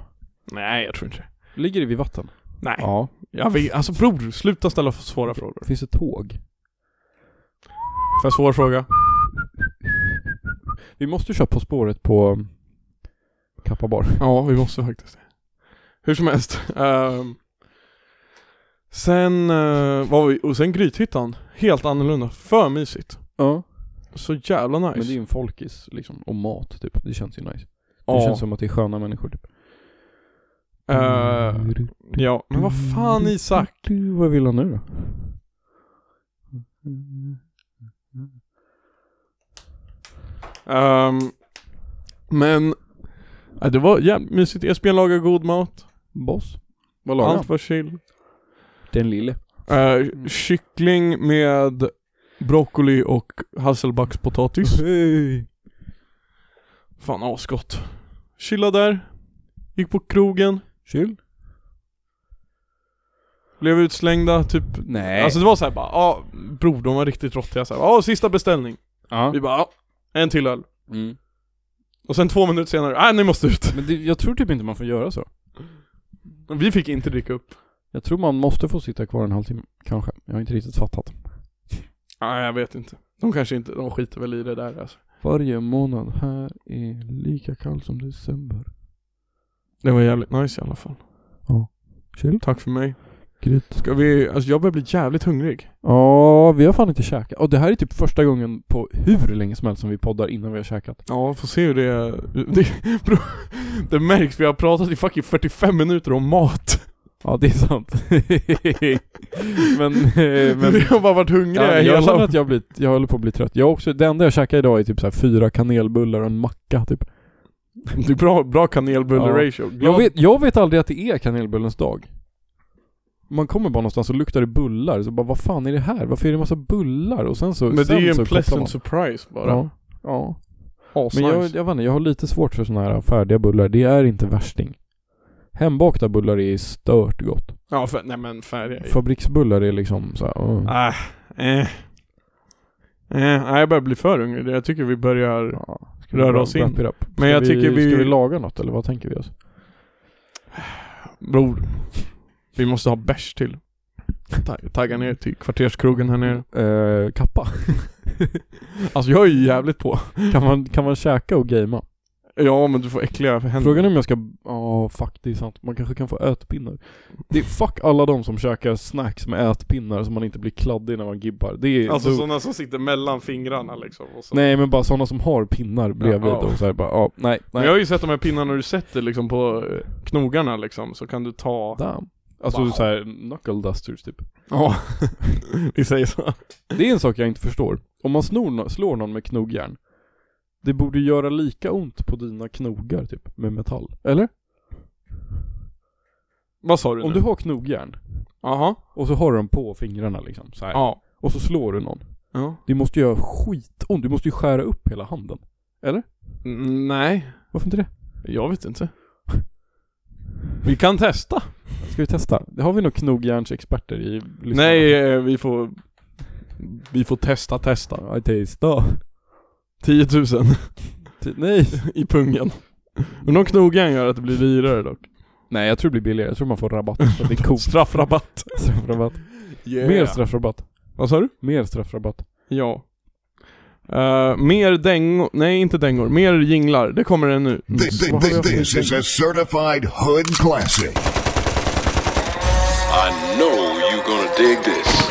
Nej jag tror inte det.
Ligger det vid vatten?
Nej.
Ja.
Jag vet, alltså bror, sluta ställa svåra frågor.
Finns det tåg?
För svår fråga.
Vi måste ju köra På spåret på um, Kappa bar.
Ja, vi måste faktiskt det. Hur som helst. ehm, sen eh, var vi, och sen Grythyttan. Helt annorlunda. För mysigt.
Ja.
Så jävla nice.
Men det är ju en folkis liksom. Och mat typ. Det känns ju nice.
ja.
Det känns som att det är sköna människor typ.
eh, ja, men vad fan Isak?
Du, vad vill han nu då?
Ehm, men eh, det var jävligt mysigt. Esbjörn lagade god mat.
Boss? Vad lagar han? Mm.
Allt var chill.
Den lille.
Eh, kyckling med broccoli och hasselbackspotatis.
Hej!
Fan asgott. Chilla där. Gick på krogen.
Chill?
Blev utslängda, typ
Nej.
Alltså det var såhär bara, ja bror de var riktigt råttiga såhär, ja sista beställning
ja.
Vi bara, ja, en till öl Och sen två minuter senare, nej ni måste ut
Men det, jag tror typ inte man får göra så.
Vi fick inte dricka upp
Jag tror man måste få sitta kvar en halvtimme. Kanske. Jag har inte riktigt fattat.
Nej jag vet inte De kanske inte, de skiter väl i det där alltså
Varje månad här är lika kall som december.
Det var jävligt nice i alla fall
Chill.
Tack för mig
Gryt.
Ska vi, alltså jag börjar bli jävligt hungrig
Ja, vi har fan inte käkat. Och det här är typ första gången på hur länge som helst som vi poddar innan vi har käkat.
Ja, får se hur det, det bror, Det märks, vi har pratat i fucking 45 minuter om mat
Ja, det är sant. men, eh, men...
Vi har bara varit hungriga
Ja,
hela
jag känner att jag, blivit, jag håller på att bli trött. Jag också, det enda jag käkar idag är typ så här fyra kanelbullar och en macka typ.
Det är bra, bra kanelbulle-ratio
Jag vet, jag vet aldrig att det är kanelbullens dag. Man kommer bara någonstans och luktar det bullar, så bara vad fan är det här? Varför är det massa bullar? Och sen så...
Men det
sen
är ju
så
en
kopplar man.
pleasant surprise bara
Ja. ja.
Asnice.
Men jag, jag vet inte, jag har lite svårt för sådana här färdiga bullar. Det är inte värsting. Hembakta bullar är stört gott.
Ja, för, nej men färg.
Fabriksbullar är liksom så här, mm.
Ah, eh. Eh, nej, jag börjar bli för ung. Jag tycker vi börjar...
ja. Ska vi
rör
wrap-
oss in.
wrap it up? Ska
Men jag tycker vi...
Ska vi laga något eller vad tänker vi oss?
Bror. Vi måste ha bärs till. Ta- Tagga ner till kvarterskrogen här nere.
Eh, kappa.
Alltså jag är ju jävligt på.
Kan man, kan man käka och gamea?
Ja men du får äckliga händer.
Frågan är om jag ska, ja fuck det är sant, man kanske kan få ätpinnar. Det är fuck alla de som käkar snacks med ätpinnar så man inte blir kladdig när man gibbar. Det är
Alltså
du-
sådana som sitter mellan fingrarna liksom. Och så.
Nej men bara sådana som har pinnar bredvid
Ja.
och så här bara, ja, nej,
Men
nej.
jag har ju sett de här pinnarna du sätter liksom på eh, knogarna liksom, så kan du ta...
Damn. Alltså
Wow.
så här knuckle dusters typ.
Ja, vi säger så.
Det är en sak jag inte förstår. Om man snor, nå- slår någon med knogjärn, det borde göra lika ont på dina knogar typ, med metall. Eller?
Vad sa du
Om
nu?
du har knogjärn,
Jaha.
och så har du dem på fingrarna liksom, så här.
Ja.
och så slår du någon.
ja.
Det måste göra skitont, du måste ju skära upp hela handen.
Mm, nej.
Varför inte det?
Jag vet inte. Vi kan testa.
Ska vi testa? Har vi några knogjärnsexperter i lyssnarna?
Nej, eh, vi får... Vi får testa, testa.
Ja, testa.
10 000
Ti- Nej.
i pungen. Men någon knogjärn gör att det blir dyrare dock.
Nej, jag tror det blir billigare. Jag tror man får rabatt. för att Det är coolt.
Straffrabatt.
Straffrabatt. Mer straffrabatt.
Vad sa du?
Mer straffrabatt.
Ja. Eh, mer dängor, nej inte dängor, mer jinglar. Det kommer det nu.
This,
Vad har vi haft för
this is
utlägg?
a certified hood classic.
I know you
gonna dig this.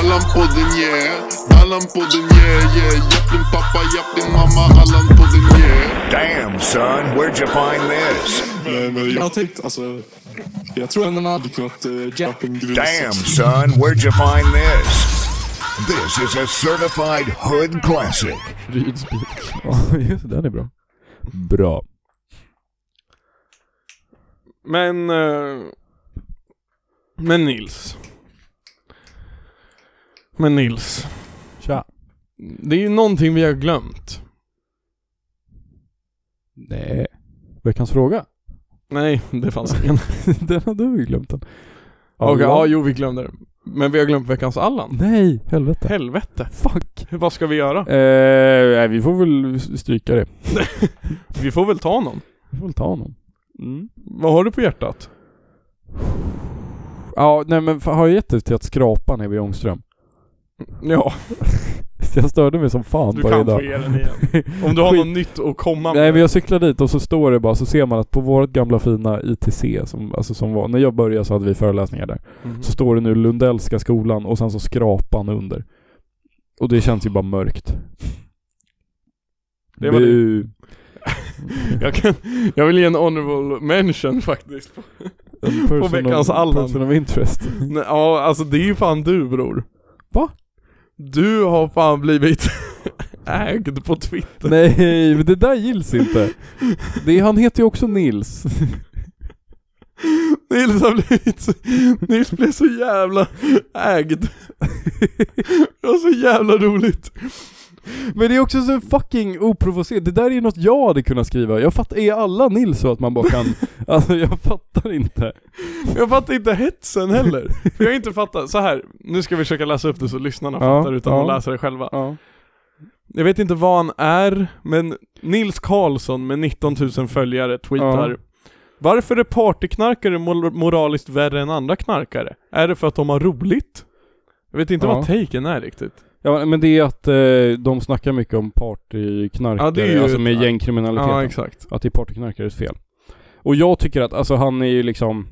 Allan podden yeah, Allan podden yeah yeah. Japp din pappa, japp din mamma, Allan podden yeah.
Damn, son, where'd you find this?
Men, men,
eh, Jag
jag,
har tänkt, alltså. Jag tror ändå man hade kunnat uh, jappa en grus.
Damn, son, where'd you find this? This is a certified hood classic.
Rydsbil.
Ja, just det, den är bra. Bra.
Men... eh, Men Nils. Men Nils.
Tja.
Det är ju någonting vi har glömt.
Nej. Veckans fråga.
Nej, det fanns ingen.
den har du glömt den.
Okej, ja
Allan?
jo vi glömde det. Men vi har glömt veckans Allan.
Nej, helvete.
Helvete.
Fuck.
Vad ska vi göra?
Eh, nej, vi får väl stryka det.
Vi får väl ta någon.
Vi får väl ta honom.
Vad har du på hjärtat?
Ja, nej men fan, har jag gett dig till att skrapa nere vid Ångström?
Ja,
Jag störde mig som fan
du
på det
kan få
idag.
ge den igen. Om du har något nytt att komma med.
Nej men jag cyklar dit och så står det bara, så ser man att på vårt gamla fina ITC, som, alltså som var, när jag började så hade vi föreläsningar där.
Mhm.
Så står det nu Lundellska skolan och sen så skrapan under. Och det känns ju bara mörkt.
Det var det.
Bu.
Jag, kan, jag vill ge en honorable mention faktiskt.
En person
veckans
of,
Allan.
Person of interest.
Nej, ja, alltså det är ju fan du bror.
Va?
Du har fan blivit ägd på Twitter.
Nej, men det där gills inte. Det, han heter ju också Nils.
Nils har blivit, så- Nils blev så jävla ägd. Det var så jävla roligt.
Men det är också så fucking oprovocerat. Det där är ju något jag hade kunnat skriva. Jag fattar, är alla Nils så att man bara kan... Alltså jag fattar inte.
Jag fattar inte hetsen heller. För jag har inte fattat, så här. nu ska vi försöka läsa upp det så lyssnarna
Ja,
fattar utan
ja.
att läsa det själva.
Ja.
Jag vet inte vad han är, men Nils Karlsson med 19 000 följare tweetar
Ja.
Varför är partyknarkare mor- moraliskt värre än andra knarkare? Är det för att de har roligt? Jag vet inte
Ja.
vad taken är riktigt.
ja men det är att eh, de snackar mycket om partyknarkare,
Ja, det är ju
alltså
ett-
med gängkriminalitet.
Ja, exakt.
att det är partyknarkares fel. Och jag tycker att, alltså han är ju liksom...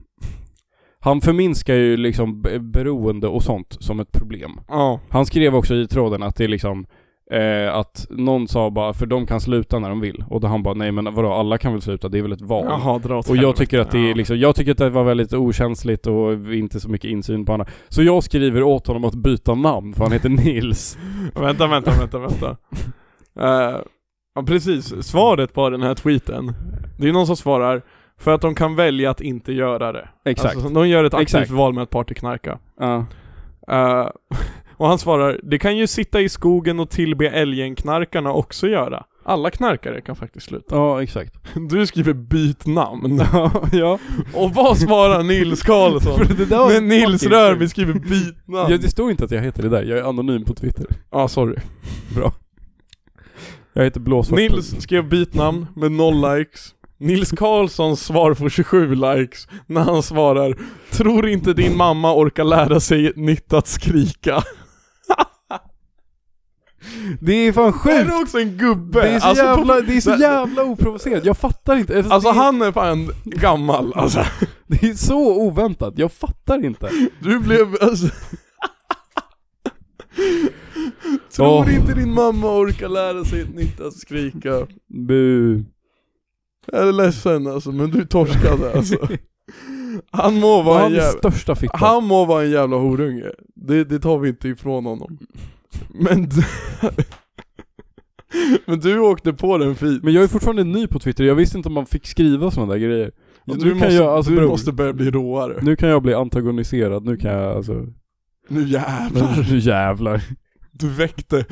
Han förminskar ju liksom be- beroende och sånt som ett problem.
Ja.
Han skrev också i tråden att det är liksom eh, att någon sa bara för de kan sluta när de vill och då han bara nej men vadå alla kan väl sluta det är väl ett val.
Jaha, dra åt
Och jag
helvete.
tycker att det är
Ja.
liksom, jag tycker att det var väldigt okänsligt och inte så mycket insyn på honom. Så jag skriver åt honom att byta namn för han heter Nils.
Vänta, vänta, vänta, vänta. Eh, ja, precis. Svaret på den här tweeten. Det är någon som svarar för att de kan välja att inte göra det.
Exakt.
Alltså, de gör ett aktivt
Exakt.
val med att partyknarka.
Ja.
Eh, och han svarar, det kan ju sitta i skogen och tillbe älgenknarkarna också göra. Alla knarkare kan faktiskt sluta.
ja, exakt.
Du skriver byt namn.
ja.
Och vad svarar Nils Karlsson?
För det där var
När
ju
Nils
fucking
Rörby
sjukt.
skriver byt namn.
Ja, det står inte att jag heter det där, jag är anonym på Twitter.
ah, sorry.
Jag heter Blåsvart.
Nils skrev bitnamn med noll likes. Nils Karlssons svar får 27 likes när han svarar Tror inte din mamma orkar lära sig ett nytt att skrika.
Det är fan
Det
sjukt!
är också en gubbe.
Det är så,
Alltså, på-
jävla, det är så
det-
jävla oprovocerat, jag fattar inte. Alltså,
Alltså
det, är,
han är fan gammal alltså.
det är så oväntat, jag fattar inte.
Du blev alltså... Tror
Åh.
inte din mamma orkar lära sig ett nytt att skrika.
Bu.
Jag är ledsen alltså men du torskade alltså. Han må vara en
Han är
jävla...
största fittan.
Han må vara en jävla horunge, det, det tar vi inte ifrån honom Men du, Men du åkte på den fint
Men jag är fortfarande ny på Twitter, jag visste inte om man fick skriva sådana där grejer.
Och
nu
Du,
kan
måste,
jag, alltså,
du
bror,
måste börja bli råare
Nu kan jag bli antagoniserad, nu kan jag alltså...
Nu jävlar,
Nu jävlar.
du väckte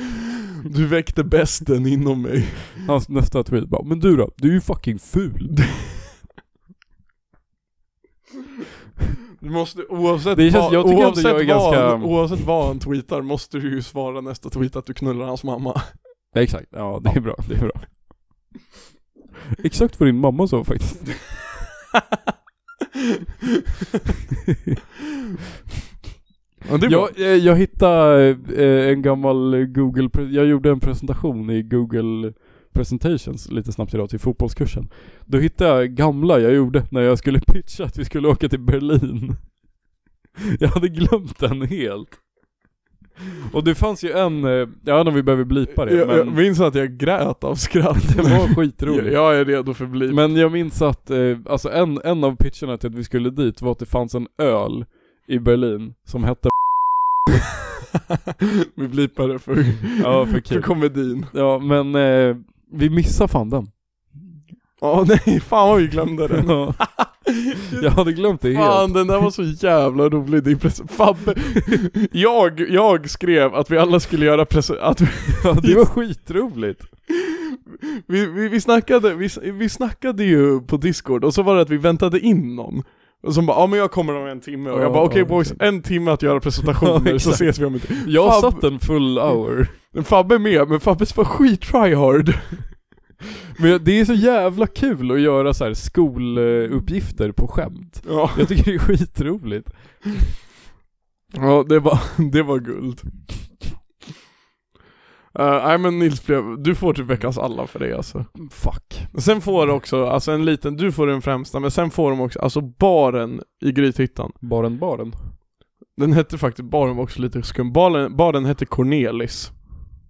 Du väckte besten inom mig
Hans nästa tweet bara, men du då? Du är ju fucking ful.
Du måste oavsett
Det känns-
vad,
jag tycker ändå
oavsett,
jag är
vad
ganska-
han, oavsett vad han tweetar måste du ju svara nästa tweet att du knullar hans mamma
Ja, exakt, ja det är bra, det är bra. Exakt vad din mamma sa faktiskt.
Ja, det är bra.
Jag, eh, jag hittade eh, en gammal Google, pre- jag gjorde en presentation i Google presentations lite snabbt idag till fotbollskursen. Då hittade jag gamla jag gjorde när jag skulle pitcha att vi skulle åka till Berlin. Jag hade glömt den helt. Och det fanns ju en, eh, jag vet inte om vi behöver blipa det,
Jag, jag
men
minns att jag grät av skratt.
den var
Jag,
skitrolig.
jag är redo för bli.
Men jag minns att, eh, alltså en, en av pitcherna till att vi skulle dit var att det fanns en öl i Berlin som hette
Vi blipar det för,
Ja, för
för
kul.
komedin.
Ja, men eh, vi missar fan den.
Ja nej, fan vad vi glömde den.
Ja. jag hade glömt det helt.
Fan den där var så jävla rolig din present. Fabbe, jag, jag skrev att vi alla skulle göra present, att vi,
Ja, det var skitroligt.
vi, vi, vi, snackade, vi, vi snackade ju på discord och så var det att vi väntade in någon. Och som bara, ja men jag kommer om en timme och jag
Ja,
bara okej
ja,
boys,
exakt.
en timme att göra presentationer
Ja,
så
exakt.
ses vi om en timme.
Jag
Fab-
satt en full hour.
Fabbe är med, men Fabbes var skit tryhard.
Men det är så jävla kul att göra så här skoluppgifter på skämt.
Ja,
Jag tycker det är skitroligt.
ja det, var, det var guld. Eh, Nej men Nils blev, du får typ veckans alla för det alltså.
Fuck.
Sen får du också, alltså en liten, du får den främsta, men sen får de också, alltså baren i Grythyttan.
Baren baren.
Den hette faktiskt, baren var också lite skum. Baren, baren hette Cornelis.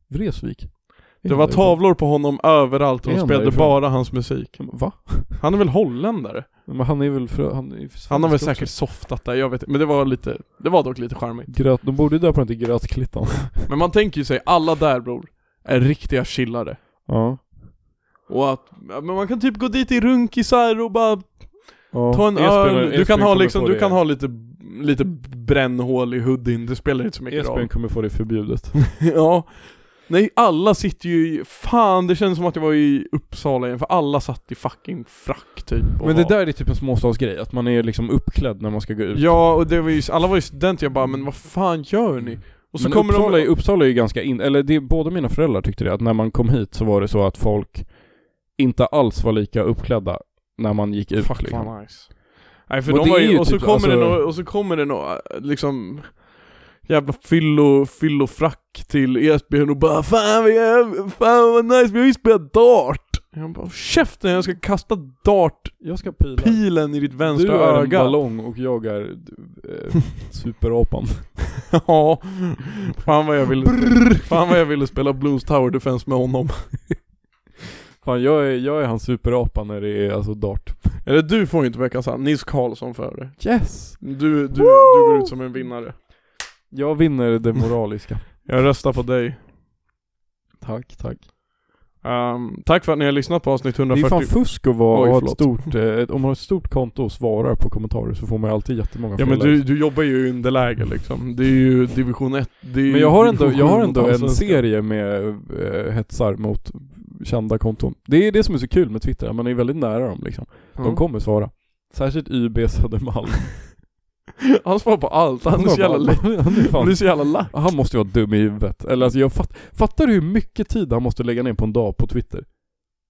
Vresvik.
Det var tavlor på honom överallt och
Är
de
han
spelade
därifrån?
bara hans musik.
Va?
Han är väl holländare?
Men han är väl frö... Han, är
Han har väl
också.
säkert softat där, jag vet inte. Men det var lite, det var dock lite charmigt.
Gröt... De borde döpa den till Grötklittan.
Men man tänker ju sig, alla där bror, är riktiga chillare.
Ja.
Och att, ja, men man kan typ gå dit i runkisar och bara
ja.
Ta en
Esbjörn-
öl, du
Esbjörn
kan ha
kommer
liksom,
få
du
det.
kan ha lite, lite brännhål i hoodien, det spelar inte så mycket
Esbjörn
roll.
kommer få det förbjudet.
Ja. Nej, alla sitter ju i, fan det känns som att jag var i Uppsala igen, för alla satt i fucking frack typ. och
Men det
var-
där är typ en småstadsgrej, att man är liksom uppklädd när man ska gå ut.
Ja, och det var ju, alla var ju studenter, jag bara men vad fan gör ni? Och så
men
kommer
Uppsala,
de...
är, Uppsala är ju ganska in, eller det, båda mina föräldrar tyckte det, att när man kom hit så var det så att folk inte alls var lika uppklädda när man gick ut
Fuck
liksom.
vad nice. Nej för
Och
de
det
var
är
ju,
ju
och så
typ,
kommer det
alltså-
nå, och så kommer det nå, liksom Jävla fyllo, fyllofrack till E Esbjörn och bara 'Fan vad, jäv- fan vad nice, vi har ju spelat dart' Jag bara 'Käften, jag ska kasta dartpilen
Jag ska pila.
i ditt
Du
vänstra
är en
öga'
ballong och jag är eh, superapan.
Ja, fan vad jag ville spela, fan vad jag ville spela Blues Tower Defense med honom
Fan jag är, jag är hans superapa när det är alltså dart.
Eller du får ju inte veckans hand, Nils Karlsson för det
Yes!
du, du, du går ut som en vinnare
Jag vinner det moraliska.
Jag röstar på dig
tack, tack.
Ehm, Tack för att ni har lyssnat på avsnitt
Det är
140
fan fusk att vara,
Oj,
ha ett
förlåt.
stort, eh, ett, om man har ett stort konto och svarar på kommentarer så får man ju alltid jättemånga
Ja men
följare.
du, du jobbar ju i underläge liksom. Det är ju division 1, det är ju
Men jag har ändå,
division
jag har
sju
ändå
mot
en
allsvenskan.
serie med eh, hetsar mot kända konton. Det är det som är så kul med Twitter, att man är väldigt nära dem liksom.
Ja.
De kommer svara. Särskilt YB Södermalm.
Han svarar på allt, han är så jävla lätt.
Han är
Han
fan-
är så jävla lack.
Han måste ju vara dum i huvudet. Eller alltså jag fatt, fattar du hur mycket tid han måste lägga ner på en dag på Twitter?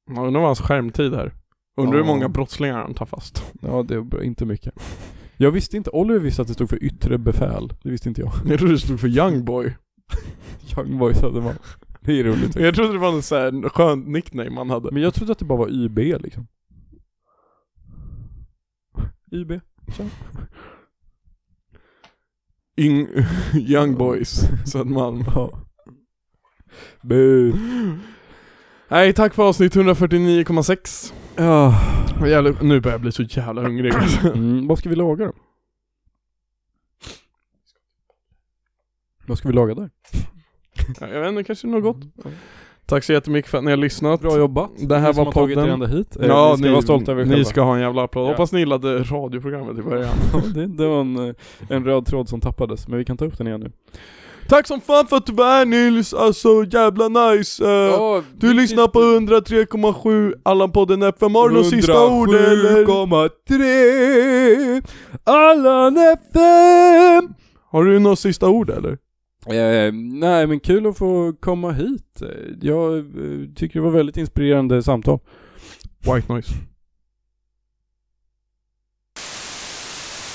Ja, Undrar vad hans skärmtid här. Undrar hur
Ja.
många brottslingar han tar fast.
Ja, det är inte mycket. Jag visste inte, Oliver visste att det stod för yttre befäl. Det visste inte jag.
Jag trodde det stod för young boy.
Young Boy Södermalm. Det är roligt.
Jag trodde det var en sån här skön nickname han hade.
Men jag trodde att det bara var YB liksom. YB.
Yng, young boys, Södermalm.
Ja. Bu.
Nej, tack för avsnitt 149,6.
Ja.
Vad jävla- Nu börjar jag bli så jävla hungrig alltså.
Mm, vad ska vi laga då? Vad ska vi laga där?
Ja, Jag vet inte, kanske något gott. Tack så jättemycket för att ni har lyssnat.
Bra jobbat.
Mm. Det här
Ni som
var
har tagit
podden.
er ända hit. Eh, ni ska vara stolta över er
Ni
själva.
ska ha en jävla applåd.
Ja.
Hoppas ni gillade radioprogrammet i början.
det, det var en, eh, en röd tråd som tappades, men vi kan ta upp den igen nu.
Tack som fan för att du var här Nils, alltså jävla nice. Eh, du lyssnar på 103,7 Allan-podden FM. Har du några sista ord eller?
107,3 Allan FM!
Har du några sista ord eller?
Eh, nej men kul att få komma hit. Eh, Jag eh, tycker det var väldigt inspirerande samtal.
White noise.